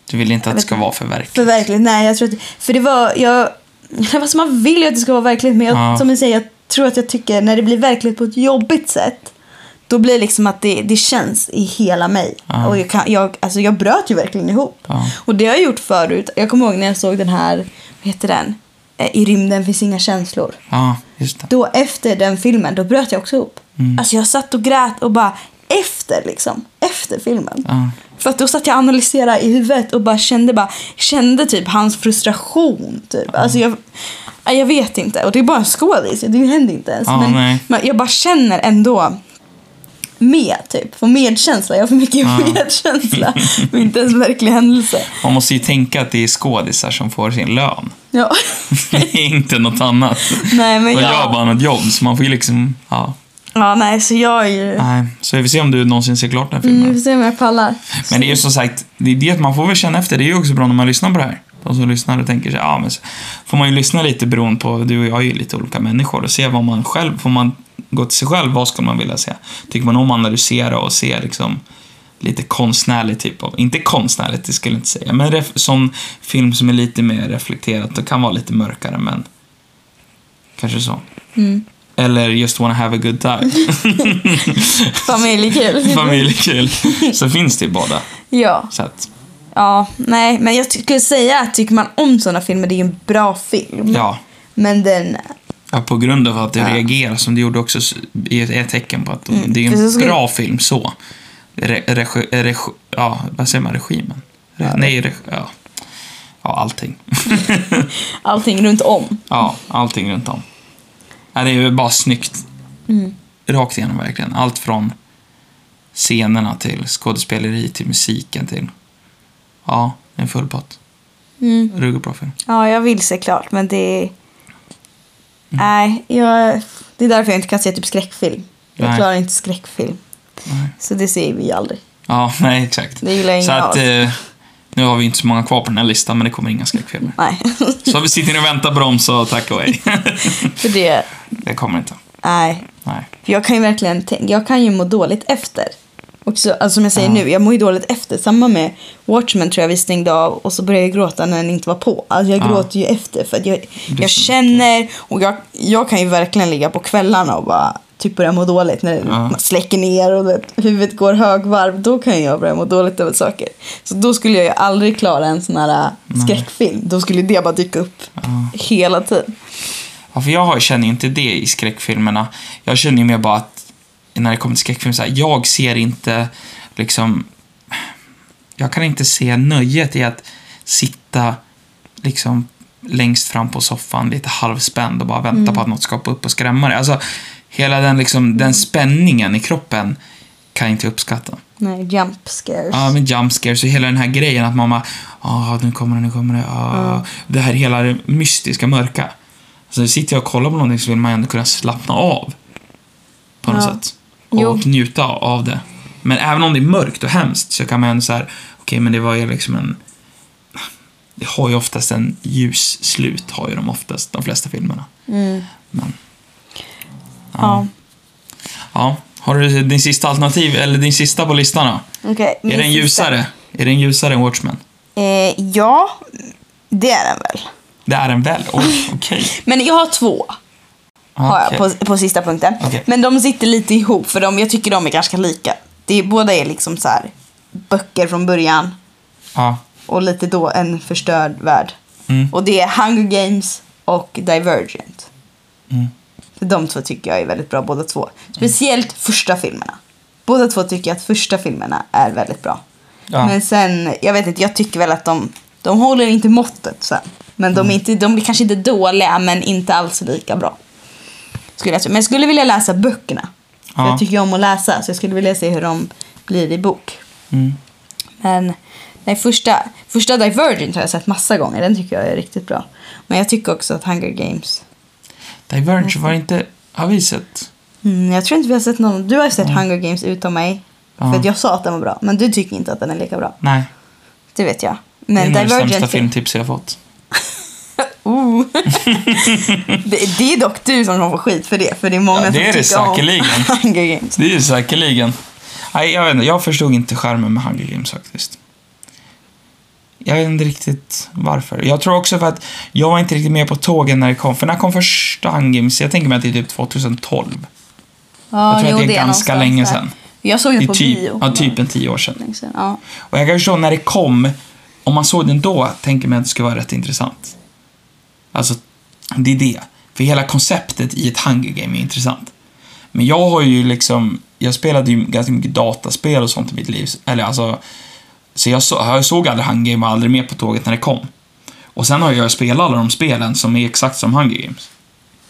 [SPEAKER 2] Du vill inte att det
[SPEAKER 1] vet
[SPEAKER 2] ska
[SPEAKER 1] inte.
[SPEAKER 2] vara för verkligt.
[SPEAKER 1] För verkligt, nej jag tror att, För det var, jag... Alltså man vill ju att det ska vara verkligt men jag,
[SPEAKER 2] Ja.
[SPEAKER 1] som jag säger, jag tror att jag tycker när det blir verkligt på ett jobbigt sätt. Då blir det liksom att det, det känns i hela mig.
[SPEAKER 2] Ja.
[SPEAKER 1] Och jag, kan, jag, alltså jag bröt ju verkligen ihop.
[SPEAKER 2] Ja.
[SPEAKER 1] Och det har jag gjort förut. Jag kommer ihåg när jag såg den här, vad heter den? Eh, I rymden finns inga känslor.
[SPEAKER 2] Ja, just det.
[SPEAKER 1] Då efter den filmen, då bröt jag också ihop.
[SPEAKER 2] Mm.
[SPEAKER 1] Alltså jag satt och grät och bara efter liksom, efter filmen.
[SPEAKER 2] Ja.
[SPEAKER 1] För att då satt jag och analyserade i huvudet och bara kände, bara, kände typ hans frustration. Typ. Alltså jag, nej, jag vet inte. Och det är bara en skådis, det händer inte ens.
[SPEAKER 2] Ja, nej.
[SPEAKER 1] men, men jag bara känner ändå med, typ. Får medkänsla. Jag får mycket medkänsla. Men inte ens verklig händelse.
[SPEAKER 2] Man måste ju tänka att det är skådisar som får sin lön.
[SPEAKER 1] Ja.
[SPEAKER 2] Det är inte något annat.
[SPEAKER 1] nej, men
[SPEAKER 2] De gör
[SPEAKER 1] jag...
[SPEAKER 2] bara något jobb, så man får ju liksom... Ja.
[SPEAKER 1] Ja, nej, så jag är ju...
[SPEAKER 2] Nej. Så vi får se om du någonsin ser klart den här filmen.
[SPEAKER 1] Mm, vi får se om jag pallar.
[SPEAKER 2] Men det är ju som sagt, det är det man får väl känna efter. Det är ju också bra när man lyssnar på det här. De som lyssnar och tänker sig, ja men så får man ju lyssna lite beroende på, du och jag är ju lite olika människor och se vad man själv, får man gå till sig själv, vad skulle man vilja se? Tycker man om att analysera och se liksom lite konstnärlig typ av, inte konstnärligt det skulle jag inte säga, men ref, sån film som är lite mer reflekterat och kan vara lite mörkare men kanske så.
[SPEAKER 1] Mm.
[SPEAKER 2] Eller just wanna have a good time,
[SPEAKER 1] Familjekul.
[SPEAKER 2] familjekul, så finns det ju båda.
[SPEAKER 1] ja.
[SPEAKER 2] Så att,
[SPEAKER 1] Ja, nej, men jag skulle säga att tycker man om sådana filmer, det är ju en bra film.
[SPEAKER 2] ja.
[SPEAKER 1] Men den...
[SPEAKER 2] Ja, på grund av att det
[SPEAKER 1] Ja.
[SPEAKER 2] reagerar som det gjorde också s- är ett- är ett tecken på att de,
[SPEAKER 1] Mm,
[SPEAKER 2] det är
[SPEAKER 1] precis,
[SPEAKER 2] en
[SPEAKER 1] jag skulle-
[SPEAKER 2] bra film så. Re, regi, regi, ja, vad säger man? Regimen? Re, nej, reg, ja. ja, allting.
[SPEAKER 1] Allting runt om.
[SPEAKER 2] Ja, allting runt om. Ja, det är ju bara snyggt.
[SPEAKER 1] Mm.
[SPEAKER 2] Rakt igenom verkligen. Allt från scenerna till skådespeleri till musiken till... Ja, en full pott.
[SPEAKER 1] Mm.
[SPEAKER 2] Ruggigt bra film.
[SPEAKER 1] Ja, jag vill se klart, men
[SPEAKER 2] Mm.
[SPEAKER 1] det... Nej, jag... det är därför jag inte kan se typ skräckfilm. Jag
[SPEAKER 2] Nej.
[SPEAKER 1] klarar inte skräckfilm.
[SPEAKER 2] Nej.
[SPEAKER 1] Så det ser vi aldrig.
[SPEAKER 2] Ja, nej exakt.
[SPEAKER 1] Det gillar
[SPEAKER 2] Så
[SPEAKER 1] ingen av
[SPEAKER 2] att
[SPEAKER 1] oss.
[SPEAKER 2] eh, nu har vi inte så många kvar på den här listan men det kommer inga skräckfilmer.
[SPEAKER 1] Nej,
[SPEAKER 2] Så vi sitter ni och väntar på dem så tack och hej.
[SPEAKER 1] för det...
[SPEAKER 2] Det kommer inte.
[SPEAKER 1] Nej.
[SPEAKER 2] Nej.
[SPEAKER 1] För jag kan ju verkligen tänka, jag kan ju må dåligt efter. Och så, alltså som jag säger nu, jag mår ju dåligt efter. Samma med Watchmen tror jag vi stängde av och så började jag gråta när den inte var på. Alltså jag
[SPEAKER 2] Ja.
[SPEAKER 1] gråter ju efter för att jag,
[SPEAKER 2] så
[SPEAKER 1] jag känner och jag, jag kan ju verkligen ligga på kvällarna och bara typ börja må dåligt när det,
[SPEAKER 2] Ja.
[SPEAKER 1] man släcker ner och det, huvudet går högvarv. Då kan jag börja må dåligt över saker. Så då skulle jag ju aldrig klara en sån här äh, skräckfilm. Då skulle det bara dyka upp hela tiden.
[SPEAKER 2] Ja, för jag har- känner ju inte det i skräckfilmerna. Jag känner ju mer bara att när det kommer till skräckfilm så här, jag ser inte liksom... Jag kan inte se nöjet i att sitta liksom längst fram på soffan lite halvspänd och bara vänta på att något ska hoppa upp och skrämma dig. Alltså, hela den, liksom, den spänningen i kroppen kan jag inte uppskatta.
[SPEAKER 1] Nej, jump scares.
[SPEAKER 2] Ja, men jump scares och hela den här grejen att man bara, ah, nu kommer det, nu kommer det, ah. Det här hela det mystiska mörka. Så sitter jag och kollar på någonting så vill man ändå kunna slappna av. På något
[SPEAKER 1] Ja.
[SPEAKER 2] sätt. Och
[SPEAKER 1] Jo.
[SPEAKER 2] njuta av det. Men även om det är mörkt och hemskt så kan man ändå så här, okej men det var ju liksom en... Det har ju oftast en ljus slut, har ju de oftast, de flesta filmerna.
[SPEAKER 1] Mm.
[SPEAKER 2] Men,
[SPEAKER 1] Ja.
[SPEAKER 2] ja. Har du din sista alternativ, eller din sista på listan då?
[SPEAKER 1] Okej, min
[SPEAKER 2] Är den
[SPEAKER 1] sista.
[SPEAKER 2] ljusare? Är den ljusare än Watchmen?
[SPEAKER 1] Eh, ja, det är den väl.
[SPEAKER 2] Det är den väl? Oj, okej.
[SPEAKER 1] Men jag har två har jag på, på sista punkten.
[SPEAKER 2] Ah, Okej.
[SPEAKER 1] Men de sitter lite ihop för de, jag tycker de är ganska lika. Det är, båda är liksom så här böcker från början
[SPEAKER 2] Ja.
[SPEAKER 1] och lite då en förstörd värld.
[SPEAKER 2] Mm.
[SPEAKER 1] Och det är Hunger Games och Divergent.
[SPEAKER 2] Mm.
[SPEAKER 1] För De två tycker jag är väldigt bra båda två. Speciellt första filmerna. Båda två tycker jag att första filmerna är väldigt bra.
[SPEAKER 2] Ja.
[SPEAKER 1] Men sen, jag vet inte, jag tycker väl att de, de håller inte måttet sen. Men
[SPEAKER 2] Mm.
[SPEAKER 1] de, är inte, de blir kanske inte dåliga, men inte alls lika bra. Skulle jag, tro. men jag skulle vilja läsa böckerna. För
[SPEAKER 2] Ja.
[SPEAKER 1] Jag tycker ju om att läsa, så jag skulle vilja se hur de blir i bok.
[SPEAKER 2] Mm.
[SPEAKER 1] Men nej, första, första Divergent har jag sett massa gånger, den tycker jag är riktigt bra. Men jag tycker också att Hunger Games,
[SPEAKER 2] Diverge var inte... Har vi sett?
[SPEAKER 1] mm, jag tror inte vi har sett någon, du har ju sett Hunger Games utom mig.
[SPEAKER 2] Ja.
[SPEAKER 1] För att jag sa att den var bra, men du tycker inte att den är lika bra.
[SPEAKER 2] Nej.
[SPEAKER 1] Det vet jag.
[SPEAKER 2] Det är
[SPEAKER 1] Men
[SPEAKER 2] nog det sämsta
[SPEAKER 1] Divergent
[SPEAKER 2] filmtips jag har fått.
[SPEAKER 1] Oh. det, det är dock du som kommer få skit för det, för det är många
[SPEAKER 2] Ja, det är det
[SPEAKER 1] som tycker
[SPEAKER 2] säkerligen.
[SPEAKER 1] om Hunger Games.
[SPEAKER 2] Det är ju säkerligen. Nej, jag vet inte. Jag förstod inte skärmen med Hunger Games faktiskt. Jag vet inte riktigt varför. Jag tror också för att jag var inte riktigt med på tågen när det kom. För när kom första Hunger Jag tänker mig att det är typ 2012.
[SPEAKER 1] Ja,
[SPEAKER 2] Jag tror
[SPEAKER 1] jo,
[SPEAKER 2] att det är ganska
[SPEAKER 1] någonstans
[SPEAKER 2] länge
[SPEAKER 1] där.
[SPEAKER 2] sedan.
[SPEAKER 1] Jag såg
[SPEAKER 2] Det
[SPEAKER 1] ju
[SPEAKER 2] är
[SPEAKER 1] på
[SPEAKER 2] typ,
[SPEAKER 1] bio.
[SPEAKER 2] ja, typ en tio år sedan.
[SPEAKER 1] Länge sedan, Ja.
[SPEAKER 2] Och jag kan förstå när det kom, om man såg den då, tänker man att det skulle vara rätt intressant. Alltså, det är det. För hela konceptet i ett Hunger Game är intressant. Men jag har ju liksom, jag spelade ju ganska mycket dataspel och sånt i mitt liv. Eller alltså, så jag, så, jag såg aldrig Hunger Game och var aldrig med på tåget när det kom. Och sen har jag spelat alla de spelen som är exakt som Hunger Games.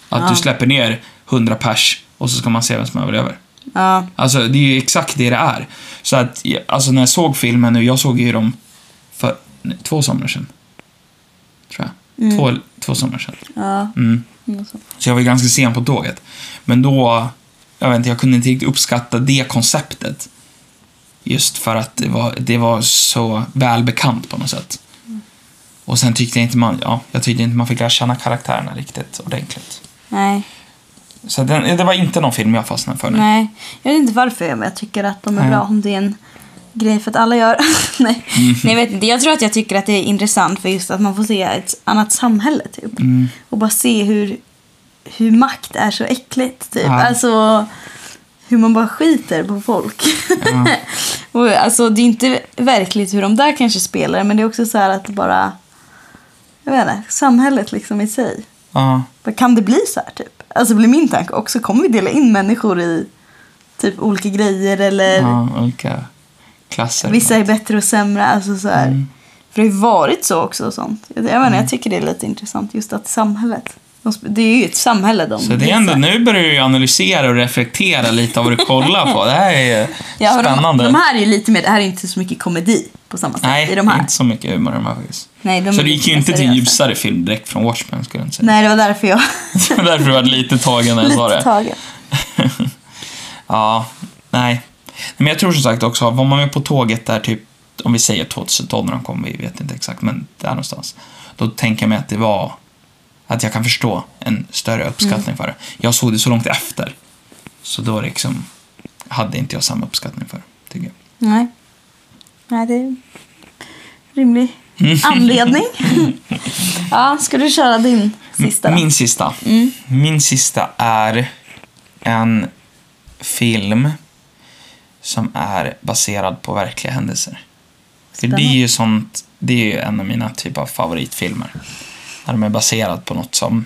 [SPEAKER 2] Att
[SPEAKER 1] Ja.
[SPEAKER 2] du släpper ner 100 pers och så ska man se vem som överlever.
[SPEAKER 1] Ja.
[SPEAKER 2] Alltså det är ju exakt det det är. Så att, alltså när jag såg filmen nu, jag såg ju dem för nej, två somrar sedan. Tror jag. Två, två somrar sedan.
[SPEAKER 1] ja.
[SPEAKER 2] Mm.
[SPEAKER 1] något sånt.
[SPEAKER 2] Så jag var ganska sen på tåget. Men då, jag vet inte, jag kunde inte riktigt uppskatta det konceptet. Just för att det var, det var så välbekant på något sätt. Och sen tyckte jag inte man, ja, jag tyckte inte man fick lära känna karaktärerna riktigt ordentligt.
[SPEAKER 1] Nej.
[SPEAKER 2] Så den, det var inte någon film jag fastnade för nu.
[SPEAKER 1] Nej. Jag vet inte varför men jag tycker att de är
[SPEAKER 2] Nej.
[SPEAKER 1] bra om det är en grej för att alla gör. Nej.
[SPEAKER 2] Mhm.
[SPEAKER 1] Nej, jag vet inte. Jag tror att jag tycker att det är intressant för just att man får se ett annat samhälle typ.
[SPEAKER 2] Mm.
[SPEAKER 1] Och bara se hur, hur makt är så äckligt typ.
[SPEAKER 2] Ja.
[SPEAKER 1] Alltså hur man bara skiter på folk.
[SPEAKER 2] Ja.
[SPEAKER 1] Och, alltså det är inte verkligt hur de där kanske spelar men det är också så här att det bara, jag vet inte, samhället liksom i sig.
[SPEAKER 2] Ja.
[SPEAKER 1] Vad Kan det bli så här typ? Alltså blir min tanke och så kommer vi dela in människor i typ olika grejer eller
[SPEAKER 2] Ja, olika klasser.
[SPEAKER 1] vissa är bättre och sämre. Alltså så här.
[SPEAKER 2] Mm.
[SPEAKER 1] För det har ju varit så också och sånt. Jag, jag, menar, jag tycker det är lite intressant just att samhället, de, sp- det är ju ett samhälle de
[SPEAKER 2] Så det är ändå,
[SPEAKER 1] visar.
[SPEAKER 2] nu börjar du ju analysera och reflektera lite av vad du kollar på. Det här är
[SPEAKER 1] Ja, och
[SPEAKER 2] spännande.
[SPEAKER 1] De, de här är ju lite mer, det här är inte så mycket komedi på samma sätt
[SPEAKER 2] Nej,
[SPEAKER 1] i de här.
[SPEAKER 2] inte så mycket humor i de här faktiskt.
[SPEAKER 1] Nej, de
[SPEAKER 2] så
[SPEAKER 1] är
[SPEAKER 2] du gick
[SPEAKER 1] lite
[SPEAKER 2] ju
[SPEAKER 1] mer
[SPEAKER 2] inte till
[SPEAKER 1] seriösa.
[SPEAKER 2] ljusare film direkt från Watchmen skulle jag inte säga.
[SPEAKER 1] Nej, det var därför jag
[SPEAKER 2] Det var därför du var lite tagen när jag sa
[SPEAKER 1] lite
[SPEAKER 2] det.
[SPEAKER 1] tagen.
[SPEAKER 2] Ja, nej. Men jag tror som sagt också, var man med på tåget där typ, om vi säger 2012 när de kom, vi vet inte exakt, men där någonstans. Då tänker jag mig att det var, att jag kan förstå en
[SPEAKER 1] Mm.
[SPEAKER 2] större uppskattning för det. Jag såg det så långt efter, så då liksom hade inte jag samma uppskattning för det, tycker jag.
[SPEAKER 1] Nej. Nej, det är en rimlig
[SPEAKER 2] Mm.
[SPEAKER 1] anledning. ja, ska du köra din sista då? Mm.
[SPEAKER 2] Mm, Min sista. Min sista är en film som är baserad på verkliga händelser. För det är
[SPEAKER 1] Spännande.
[SPEAKER 2] ju sånt, det är ju en av mina typ av favoritfilmer. När de är baserad på något som,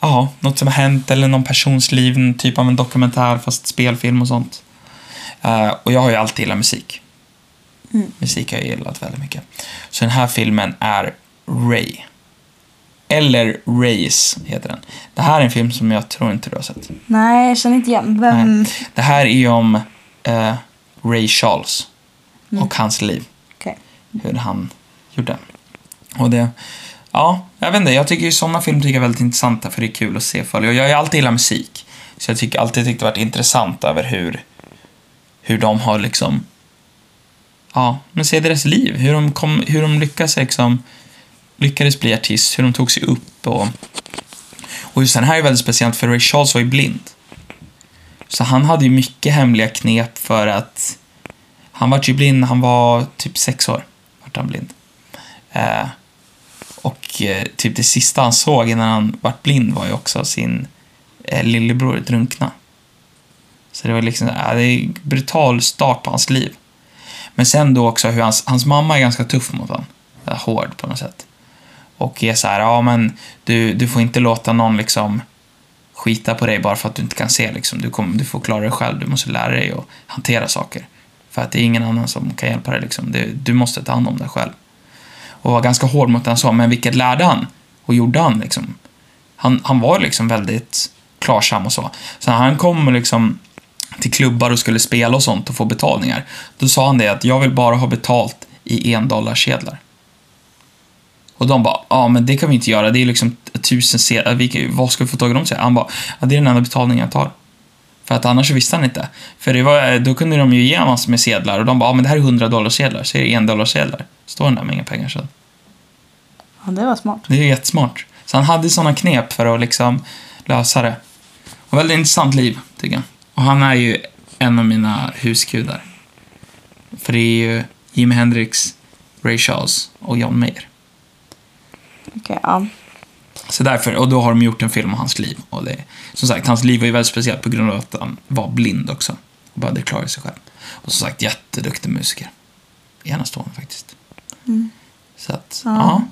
[SPEAKER 2] ja, något som har hänt eller någon persons liv, en typ av en dokumentär fast spelfilm och sånt. Eh, och jag har ju alltid gillat musik. Musik har jag gillat väldigt mycket. Så den här filmen är Ray. Eller Race heter den. Det här är en film som jag tror inte du har sett.
[SPEAKER 1] Nej, jag känner inte igen. Vem?
[SPEAKER 2] Nej. Det här är ju om eh, Ray Charles och hans liv.
[SPEAKER 1] Okej.
[SPEAKER 2] Hur han gjorde. Och det, ja, jag vet inte. Jag tycker ju sådana filmer tycker jag är väldigt intressanta för det är kul att se folk. Och jag har ju alltid gillat musik. Så jag tycker alltid tyckt det varit intressant över hur, hur de har liksom, ja, men se deras liv. Hur de, kom, hur de lyckas liksom, lyckades bli artist, hur de tog sig upp och och just den här är väldigt speciellt för Ray Charles var ju blind. Så han hade ju mycket hemliga knep för att han var ju blind när han var typ sex år. Vart han blind. Eh, och eh, typ det sista han såg innan han vart blind var ju också sin eh, lillebror drunkna. Så det var liksom, ja, det är en brutal start på hans liv. Men sen då också hur hans, hans mamma är ganska tuff mot honom. Eh, Hård på något sätt. Och är så här, ja men du, du får inte låta någon liksom skita på dig bara för att du inte kan se liksom. Du, kommer, du får klara dig själv, du måste lära dig att hantera saker. För att det är ingen annan som kan hjälpa dig liksom. Du, du måste ta hand om dig själv. Och var ganska hård mot den så, men vilket lärde han? Och gjorde han liksom? Han, han var liksom väldigt klarsam och så. Så när han kom och liksom till klubbar och skulle spela och sånt och få betalningar, då sa han det att jag vill bara ha betalt i en och de bara, ja men det kan vi inte göra, det är liksom tusen sedlar, Vi kan- vad ska vi få tag i dem? säger Han bara, ja, det är den enda betalningen jag tar. För att annars så visste han inte. För det var, då kunde de ju ge massor med sedlar och de bara, ja men det här är 100 dollar sedlar, så är det en dollar sedlar. Står den där med inga pengar sen.
[SPEAKER 1] Ja, det var smart.
[SPEAKER 2] Det är ju jättesmart. Så han hade sådana knep för att liksom lösa det. Och väldigt intressant liv, tycker jag. Och han är ju en av mina husgudar. För det är ju Jimi Hendrix, Ray Charles och John Mayer.
[SPEAKER 1] Okej, ja.
[SPEAKER 2] Så därför, och då har de gjort en film om hans liv. Och det, som sagt, hans liv var ju väldigt speciellt på grund av att han var blind också. Och behövde klara sig själv. Och som sagt, jätteduktig musiker. Enastående faktiskt. Så att,
[SPEAKER 1] Mm. Ja.
[SPEAKER 2] ja.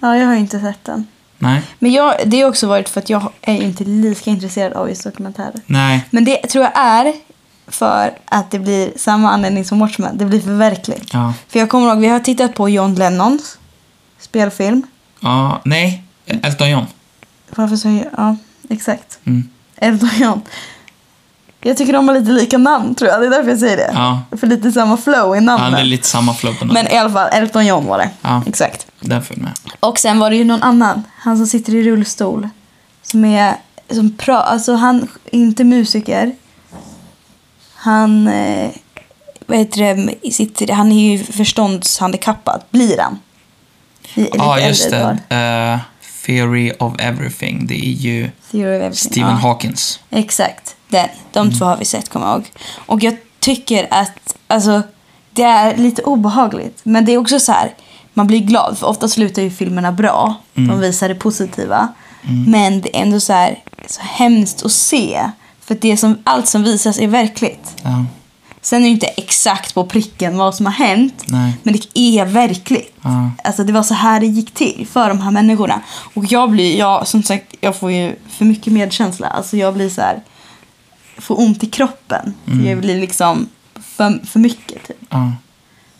[SPEAKER 1] Ja, jag har ju inte sett den.
[SPEAKER 2] Nej.
[SPEAKER 1] Men jag, det har också varit för att jag är inte lika intresserad av just dokumentärer.
[SPEAKER 2] Nej.
[SPEAKER 1] Men det tror jag är för att det blir samma anledning som Watchmen. Det blir för verkligt.
[SPEAKER 2] Ja.
[SPEAKER 1] För jag kommer ihåg, vi har tittat på John Lennons spelfilm.
[SPEAKER 2] Ja, nej. Elton John.
[SPEAKER 1] Varför så Ja, exakt.
[SPEAKER 2] Mm.
[SPEAKER 1] Elton John. Jag tycker de har lite lika namn tror jag. Det är därför jag säger det.
[SPEAKER 2] Ja.
[SPEAKER 1] För lite samma flow i
[SPEAKER 2] Ja,
[SPEAKER 1] namnen.
[SPEAKER 2] det är lite samma flow på
[SPEAKER 1] Men
[SPEAKER 2] namnet.
[SPEAKER 1] i alla fall, Elton John var det.
[SPEAKER 2] Ja.
[SPEAKER 1] Exakt.
[SPEAKER 2] Den följde med.
[SPEAKER 1] Och sen var det ju någon annan, han som sitter i rullstol. Som är, som pra, alltså han är inte musiker. Han, eh, vad heter det, sitter, han är ju förståndshandikappad, blir han. I-
[SPEAKER 2] Ja,
[SPEAKER 1] lite
[SPEAKER 2] just
[SPEAKER 1] äldre
[SPEAKER 2] det.
[SPEAKER 1] par.
[SPEAKER 2] Eh, Theory of Everything. Det är ju
[SPEAKER 1] Theory of everything.
[SPEAKER 2] Stephen
[SPEAKER 1] ja.
[SPEAKER 2] Hawkins.
[SPEAKER 1] Exakt, den. De två har vi sett, kommer jag ihåg. Och jag tycker att, alltså, det är lite obehagligt. Men det är också så här, man blir glad. För ofta slutar ju filmerna bra. De visar det positiva. Men det är ändå så här, så hemskt att se. För att det som, allt som visas är verkligt.
[SPEAKER 2] Ja,
[SPEAKER 1] Sen är det ju inte exakt på pricken vad som har hänt.
[SPEAKER 2] nej.
[SPEAKER 1] Men det är verkligt.
[SPEAKER 2] Ja.
[SPEAKER 1] Alltså det var så här det gick till för de här människorna. Och jag blir, jag, som sagt, jag får ju för mycket medkänsla. Alltså jag blir så här, får ont i kroppen.
[SPEAKER 2] Mm.
[SPEAKER 1] För Jag blir liksom för, för mycket typ.
[SPEAKER 2] Ja,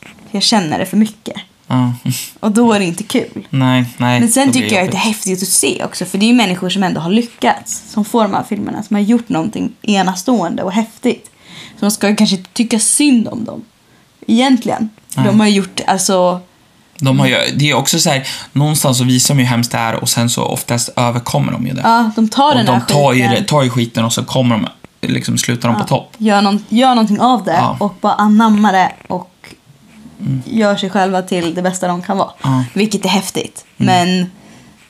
[SPEAKER 1] För Jag känner det för mycket.
[SPEAKER 2] ja.
[SPEAKER 1] Och då är det inte kul.
[SPEAKER 2] Nej, nej.
[SPEAKER 1] Men sen
[SPEAKER 2] det blir
[SPEAKER 1] tycker jag att det är
[SPEAKER 2] jobbigt.
[SPEAKER 1] häftigt att se också. För det är ju människor som ändå har lyckats. Som får de här filmerna. Som har gjort någonting enastående och häftigt. Så man ska ju kanske inte tycka synd om dem. Egentligen. För
[SPEAKER 2] Nej.
[SPEAKER 1] de har ju gjort, alltså,
[SPEAKER 2] De har ju, det är också så här, någonstans så visar de ju hemskt det här och sen så oftast överkommer de ju det.
[SPEAKER 1] ja de tar
[SPEAKER 2] och
[SPEAKER 1] den här
[SPEAKER 2] de tar ju,
[SPEAKER 1] skiten.
[SPEAKER 2] det- tar ju skiten och så kommer de, liksom slutar de på topp.
[SPEAKER 1] Gör, någon, gör någonting av det
[SPEAKER 2] Ja. Mm.
[SPEAKER 1] och bara anammar det och gör sig själva till det bästa de kan vara.
[SPEAKER 2] Ja. Mm.
[SPEAKER 1] Vilket är häftigt. Men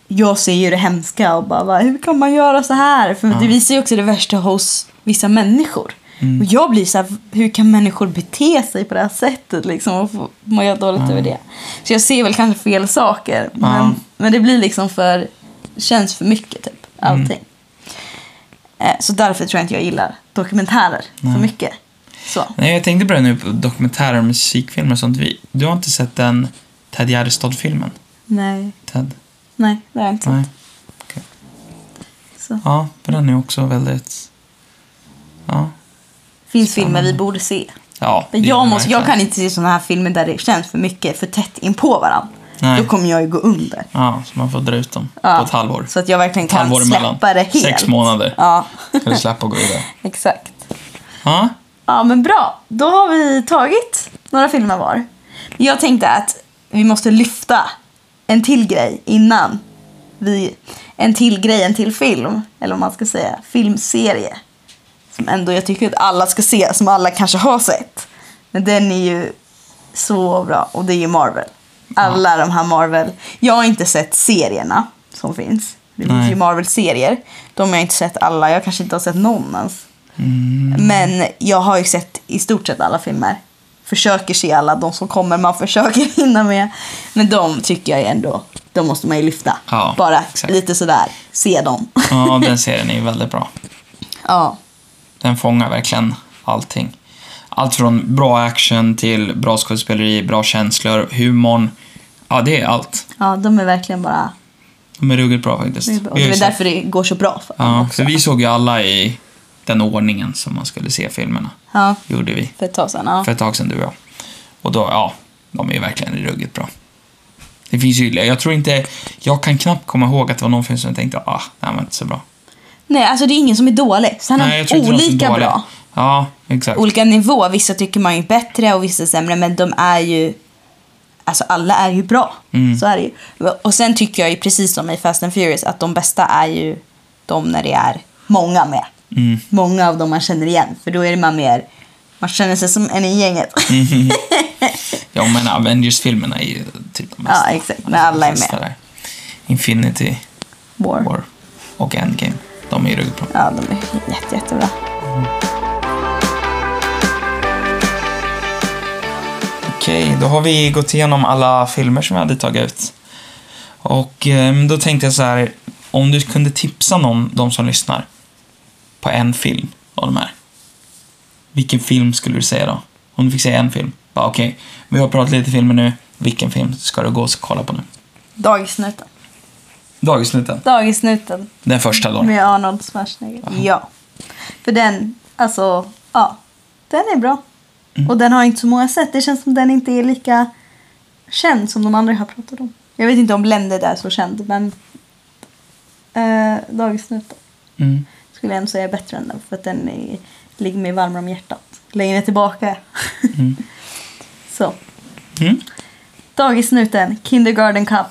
[SPEAKER 1] jag ser ju det hemska och bara, va, hur kan man göra så här? För det visar ju också det värsta hos vissa människor.
[SPEAKER 2] Mm.
[SPEAKER 1] Och jag blir så här, hur kan människor bete sig på det här sättet liksom? Och få- må jag dåligt över det. Så jag ser väl kanske fel saker. Men, men det blir liksom för, känns för mycket typ,
[SPEAKER 2] Mm.
[SPEAKER 1] allting. Eh, Så därför tror jag inte jag gillar dokumentärer så mycket. Så.
[SPEAKER 2] Nej, jag tänkte på det nu på dokumentärer och musikfilmer och sånt. Vi, du har inte sett den Ted Gärdestad-filmen?
[SPEAKER 1] Nej,
[SPEAKER 2] Ted?
[SPEAKER 1] nej, det har jag inte.
[SPEAKER 2] Nej.
[SPEAKER 1] Så.
[SPEAKER 2] Ja, för den är också väldigt... Ja.
[SPEAKER 1] finns filmer vi borde se.
[SPEAKER 2] ja
[SPEAKER 1] Men
[SPEAKER 2] det är
[SPEAKER 1] jag,
[SPEAKER 2] det
[SPEAKER 1] måste, jag
[SPEAKER 2] verkligen.
[SPEAKER 1] kan inte se sådana här filmer där det känns för mycket, för tätt in på varandra.
[SPEAKER 2] Nej.
[SPEAKER 1] Då kommer jag ju gå under.
[SPEAKER 2] Ja, så man får dra ut dem
[SPEAKER 1] Ja,
[SPEAKER 2] på ett halvår.
[SPEAKER 1] Så att jag verkligen
[SPEAKER 2] Ett halvår
[SPEAKER 1] kan släppa
[SPEAKER 2] emellan.
[SPEAKER 1] det helt.
[SPEAKER 2] Sex månader.
[SPEAKER 1] Ja,
[SPEAKER 2] Eller släppa och gå vidare.
[SPEAKER 1] exakt.
[SPEAKER 2] Ja,
[SPEAKER 1] Ja, men bra. Då har vi tagit några filmer var. Jag tänkte att vi måste lyfta en till grej innan vi... En till grej, en till film. Eller om man ska säga filmserie. Som ändå jag tycker att alla ska se, som alla kanske har sett. Men den är ju så bra och det är ju Marvel. Alla de här Marvel. Jag har inte sett serierna som finns. Det finns
[SPEAKER 2] Nej.
[SPEAKER 1] ju Marvel-serier. De har jag inte sett alla. Jag kanske inte har sett någon ens.
[SPEAKER 2] Mm.
[SPEAKER 1] Men jag har ju sett i stort sett alla filmer. Försöker se alla de som kommer man försöker hinna med. Men de tycker jag ändå, de måste man ju lyfta.
[SPEAKER 2] Ja,
[SPEAKER 1] Bara
[SPEAKER 2] exakt.
[SPEAKER 1] lite sådär, se dem.
[SPEAKER 2] ja den serien är ju väldigt bra.
[SPEAKER 1] ja.
[SPEAKER 2] Den fångar verkligen allting. Allt från bra action till bra skådespeleri, bra känslor, humorn. Ja, det är allt.
[SPEAKER 1] ja, de är verkligen bara...
[SPEAKER 2] De är ruggigt bra faktiskt.
[SPEAKER 1] Det är, bra. Och
[SPEAKER 2] Vi har
[SPEAKER 1] det
[SPEAKER 2] ju
[SPEAKER 1] är
[SPEAKER 2] sett-
[SPEAKER 1] därför det går så bra för dem
[SPEAKER 2] Ja,
[SPEAKER 1] också.
[SPEAKER 2] för vi såg ju alla i den ordningen som man skulle se filmerna.
[SPEAKER 1] Ja,
[SPEAKER 2] Gjorde vi.
[SPEAKER 1] för ett tag sedan. Ja.
[SPEAKER 2] För ett tag sedan, du och jag. Och då, ja, de är ju verkligen ruggigt bra. Det finns ju, jag tror inte, jag kan knappt komma ihåg att det var någon film som jag tänkte, ah, den var inte så bra.
[SPEAKER 1] Nej, alltså det är ingen som är dålig. Sen
[SPEAKER 2] Nej, jag
[SPEAKER 1] är
[SPEAKER 2] tror
[SPEAKER 1] de
[SPEAKER 2] inte det var så
[SPEAKER 1] olika
[SPEAKER 2] dålig.
[SPEAKER 1] bra.
[SPEAKER 2] Ja, exakt.
[SPEAKER 1] Olika nivå. Vissa tycker man är bättre och vissa sämre. Men de är ju... Alltså alla är ju bra. Så är det ju. Och sen tycker jag ju precis som i Fast and Furious att de bästa är ju de när det är många med.
[SPEAKER 2] Mm.
[SPEAKER 1] Många av dem man känner igen. För då är man mer... Man känner sig som en i gänget.
[SPEAKER 2] Ja, men Avengers-filmerna är ju typ de
[SPEAKER 1] ja,
[SPEAKER 2] bästa.
[SPEAKER 1] exakt. När alla är
[SPEAKER 2] De bästa
[SPEAKER 1] med.
[SPEAKER 2] där. Infinity
[SPEAKER 1] War.
[SPEAKER 2] War och Endgame. De är ju ruggigt bra.
[SPEAKER 1] Ja, de är jätte, jättebra.
[SPEAKER 2] Okej, Okej, då har vi gått igenom alla filmer som vi hade tagit ut. Och eh, då tänkte jag så här, om du kunde tipsa någon, de som lyssnar, på en film av de här. Vilken film skulle du säga då? Om du fick säga en film. Bara okej, vi har pratat lite filmer nu. Vilken film ska du gå och kolla på nu?
[SPEAKER 1] Dagisnuten.
[SPEAKER 2] Dagisnuten.
[SPEAKER 1] Dagisnuten
[SPEAKER 2] Den första då.
[SPEAKER 1] med Arnold Schwarzenegger. Ja. För den, alltså, ja. Den är bra. Och den har inte så många sätt. Det känns som den inte är lika känd som de andra jag har pratat om. Jag vet inte om Blended är så känd, men eh, Dagisnuten
[SPEAKER 2] Mm.
[SPEAKER 1] skulle jag ändå säga är bättre än den för att den är, ligger mig varmare om hjärtat. Längre tillbaka.
[SPEAKER 2] Mm.
[SPEAKER 1] så.
[SPEAKER 2] Mm.
[SPEAKER 1] Dagisnuten, Kindergarten Cup.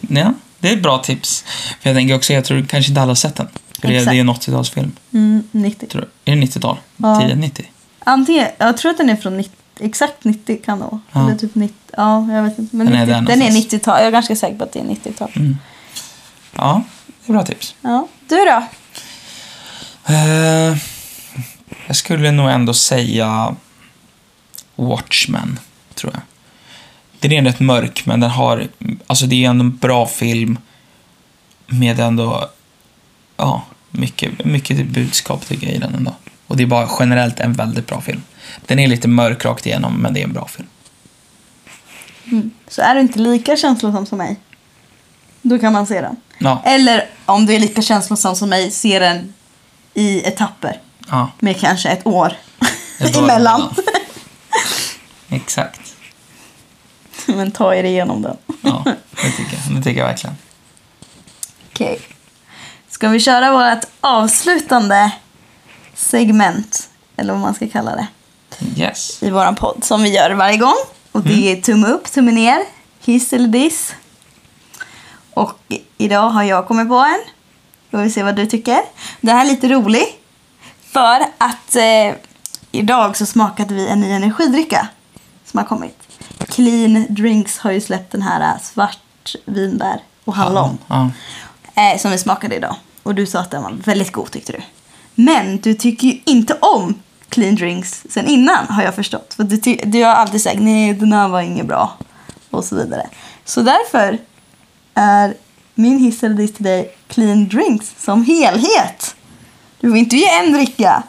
[SPEAKER 2] Ja, det är ett bra tips. För jag tänker också, jag tror kanske inte alla har sett den. För det, det är ju en 80-talsfilm.
[SPEAKER 1] Mm, 90.
[SPEAKER 2] Tror jag. Är det 90-tal?
[SPEAKER 1] Ja.
[SPEAKER 2] 10, 90?
[SPEAKER 1] Antingen, jag tror att den är från 90, exakt 90 kan det vara.
[SPEAKER 2] Ja.
[SPEAKER 1] Eller typ 90, ja jag vet inte. Men
[SPEAKER 2] Den är
[SPEAKER 1] 90,
[SPEAKER 2] där
[SPEAKER 1] den är
[SPEAKER 2] någonstans.
[SPEAKER 1] 90-tal, jag är ganska säker på att det är 90-tal.
[SPEAKER 2] Mm. Ja, det är bra tips.
[SPEAKER 1] Ja. Du då?
[SPEAKER 2] Eh, jag skulle nog ändå säga Watchmen, tror jag. Den är rätt mörk, men den har... Alltså det är ändå en bra film med ändå... Ja, mycket, mycket budskap tycker jag i den ändå. Och det är bara generellt en väldigt bra film. Den är lite mörk rakt igenom, men det är en bra film.
[SPEAKER 1] Så är du inte lika känslosam som mig, då kan man se den.
[SPEAKER 2] Ja,
[SPEAKER 1] Eller om du är lika känslosam som mig, se den i etapper
[SPEAKER 2] ja
[SPEAKER 1] med kanske ett år
[SPEAKER 2] Ett år
[SPEAKER 1] emellan.
[SPEAKER 2] exakt.
[SPEAKER 1] Men ta er igenom den.
[SPEAKER 2] Ja, det tycker jag. Det tycker jag verkligen.
[SPEAKER 1] Okej. Ska vi köra vårt avslutande segment, eller vad man ska kalla det?
[SPEAKER 2] Yes.
[SPEAKER 1] i våran podd som vi gör varje gång. Och det är tumme upp, tumme ner, hiss eller diss. Och idag har jag kommit på en. Då får vi se vad du tycker. Det här är lite rolig. För att eh, idag så smakade vi en ny energidricka som har kommit. Clean Drinks har ju släppt den här eh, svart vinbär och hallon.
[SPEAKER 2] Ja.
[SPEAKER 1] Eh, som vi smakade idag. Och du sa att den var väldigt god tyckte du. Men du tycker ju inte om clean drinks sen innan har jag förstått. För du, ty- du har alltid sagt nej den här var inget bra. Och så vidare. Så därför är min hiss eller diss till dig clean drinks som helhet. Du får inte ge en dricka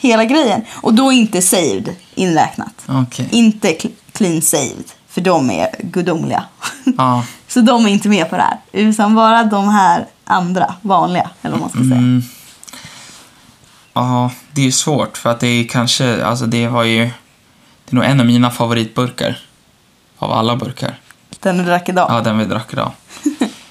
[SPEAKER 1] hela grejen. Och då är inte saved inräknat.
[SPEAKER 2] Okej.
[SPEAKER 1] Inte cl- clean saved. För de är gudomliga.
[SPEAKER 2] Ja.
[SPEAKER 1] Så de är inte med på det här. Utan bara de här andra, vanliga. Eller vad man ska säga.
[SPEAKER 2] Mm. Ja, det är svårt för att det är kanske, alltså det har ju, det är nog en av mina favoritburkar. Av alla burkar.
[SPEAKER 1] Den du drack idag.
[SPEAKER 2] Ja, den vi drack idag.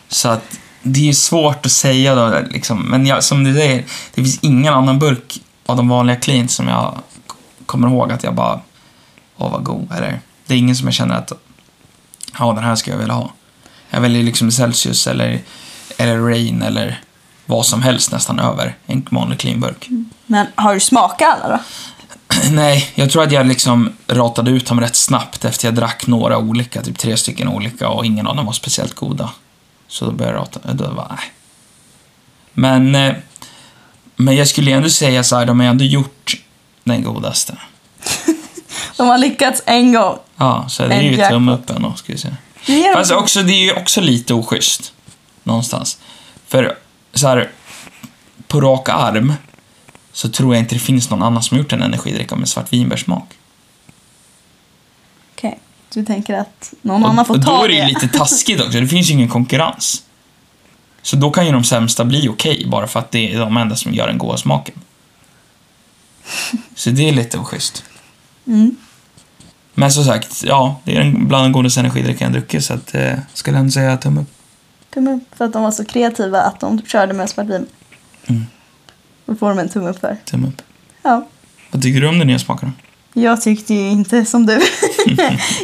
[SPEAKER 2] Så att det är svårt att säga då liksom. Men jag, som du säger, det finns ingen annan burk av de vanliga clean som jag k- kommer ihåg att jag bara, åh vad god eller Det är ingen som jag känner att, ja den här ska jag vilja ha. Jag väljer liksom Celsius eller, eller Rain eller vad som helst nästan över en vanlig clean burk.
[SPEAKER 1] Men har du smakat alla då?
[SPEAKER 2] Nej, jag tror att jag liksom ratade ut dem rätt snabbt efter jag drack några olika, typ tre stycken olika och ingen av dem var speciellt goda. Så då började jag rata, då var nej. Men, eh, men jag skulle ändå säga så här, de har ändå gjort den godaste.
[SPEAKER 1] De har lyckats en gång.
[SPEAKER 2] Ja, så det är
[SPEAKER 1] En
[SPEAKER 2] ju
[SPEAKER 1] jackpot.
[SPEAKER 2] tumme upp ändå, ska vi säga.
[SPEAKER 1] Det ger
[SPEAKER 2] Fast
[SPEAKER 1] dem-
[SPEAKER 2] också, det är ju också lite oschysst. Någonstans. För så här, på rak arm så tror jag inte det finns någon annan som har gjort en energidricka med svart vinbärssmak.
[SPEAKER 1] Okej. Du tänker att någon annan får
[SPEAKER 2] och
[SPEAKER 1] ta
[SPEAKER 2] då
[SPEAKER 1] det.
[SPEAKER 2] är det ju lite taskigt också, det finns ju ingen konkurrens. Så då kan ju de sämsta bli okej, bara för att det är de enda som gör den goda smaken. Så det är lite oschysst.
[SPEAKER 1] Mm.
[SPEAKER 2] Men som sagt, ja, det är en bland de godaste energidrycker jag druckit, så att, eh, skulle jag ändå säga tumme upp.
[SPEAKER 1] Tumme upp. För att de var så kreativa att de körde med svartvin.
[SPEAKER 2] Mm.
[SPEAKER 1] Då får de en tumme upp för.
[SPEAKER 2] Tumme upp.
[SPEAKER 1] Ja.
[SPEAKER 2] Vad tycker du om den nya smaken då?
[SPEAKER 1] Jag tyckte ju inte som du.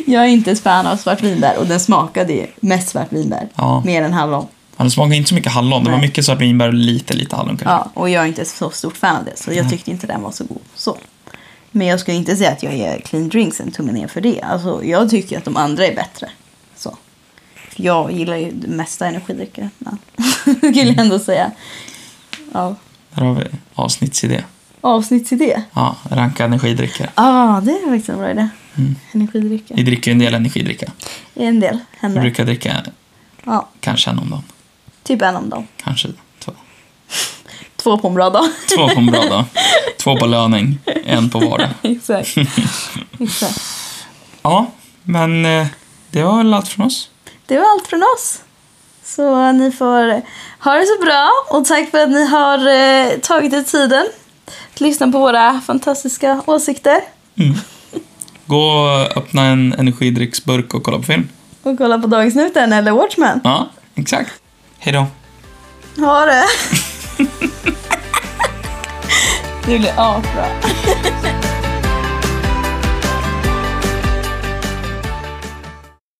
[SPEAKER 1] jag är inte ett fan av svartvinbär och den smakade ju mest svartvinbär.
[SPEAKER 2] Ja.
[SPEAKER 1] Mer än hallon.
[SPEAKER 2] Ja, Den smakade inte så mycket hallon, det var
[SPEAKER 1] Nej.
[SPEAKER 2] mycket svart vinbär och lite, lite hallon kanske.
[SPEAKER 1] Ja, och jag är inte så stort fan av det, så jag tyckte inte den var så god. Så. Men jag skulle inte säga att jag ger Clean Drinks en tumme ner för det. Alltså, jag tycker att de andra är bättre. Så. För Jag gillar ju det mesta energidrycker, men skulle jag ändå säga. Ja.
[SPEAKER 2] Där har vi avsnittsidé.
[SPEAKER 1] Avsnittsidé.
[SPEAKER 2] Ja, ranka energidrycker.
[SPEAKER 1] Ja, ah, det är faktiskt en bra idé. Energidricka.
[SPEAKER 2] Vi dricker ju en del energidricka.
[SPEAKER 1] En del
[SPEAKER 2] Vi
[SPEAKER 1] händer.
[SPEAKER 2] brukar dricka
[SPEAKER 1] Ja,
[SPEAKER 2] kanske en om dagen.
[SPEAKER 1] typ en om dagen.
[SPEAKER 2] Kanske två.
[SPEAKER 1] Två på en bra dag.
[SPEAKER 2] Två på en bra dag. Två på löning, en på vardag.
[SPEAKER 1] Exakt. Exakt.
[SPEAKER 2] Ja, men eh, det var väl allt från oss.
[SPEAKER 1] Det var allt från oss. Så ni får ha det så bra och tack för att ni har eh, tagit er tiden att lyssna på våra fantastiska åsikter
[SPEAKER 2] Gå och öppna en energidrycksburk och kolla på film.
[SPEAKER 1] och kolla på Dagsnuten eller Watchmen.
[SPEAKER 2] Ja, exakt. Hej då.
[SPEAKER 1] Ha det! Det blir asbra.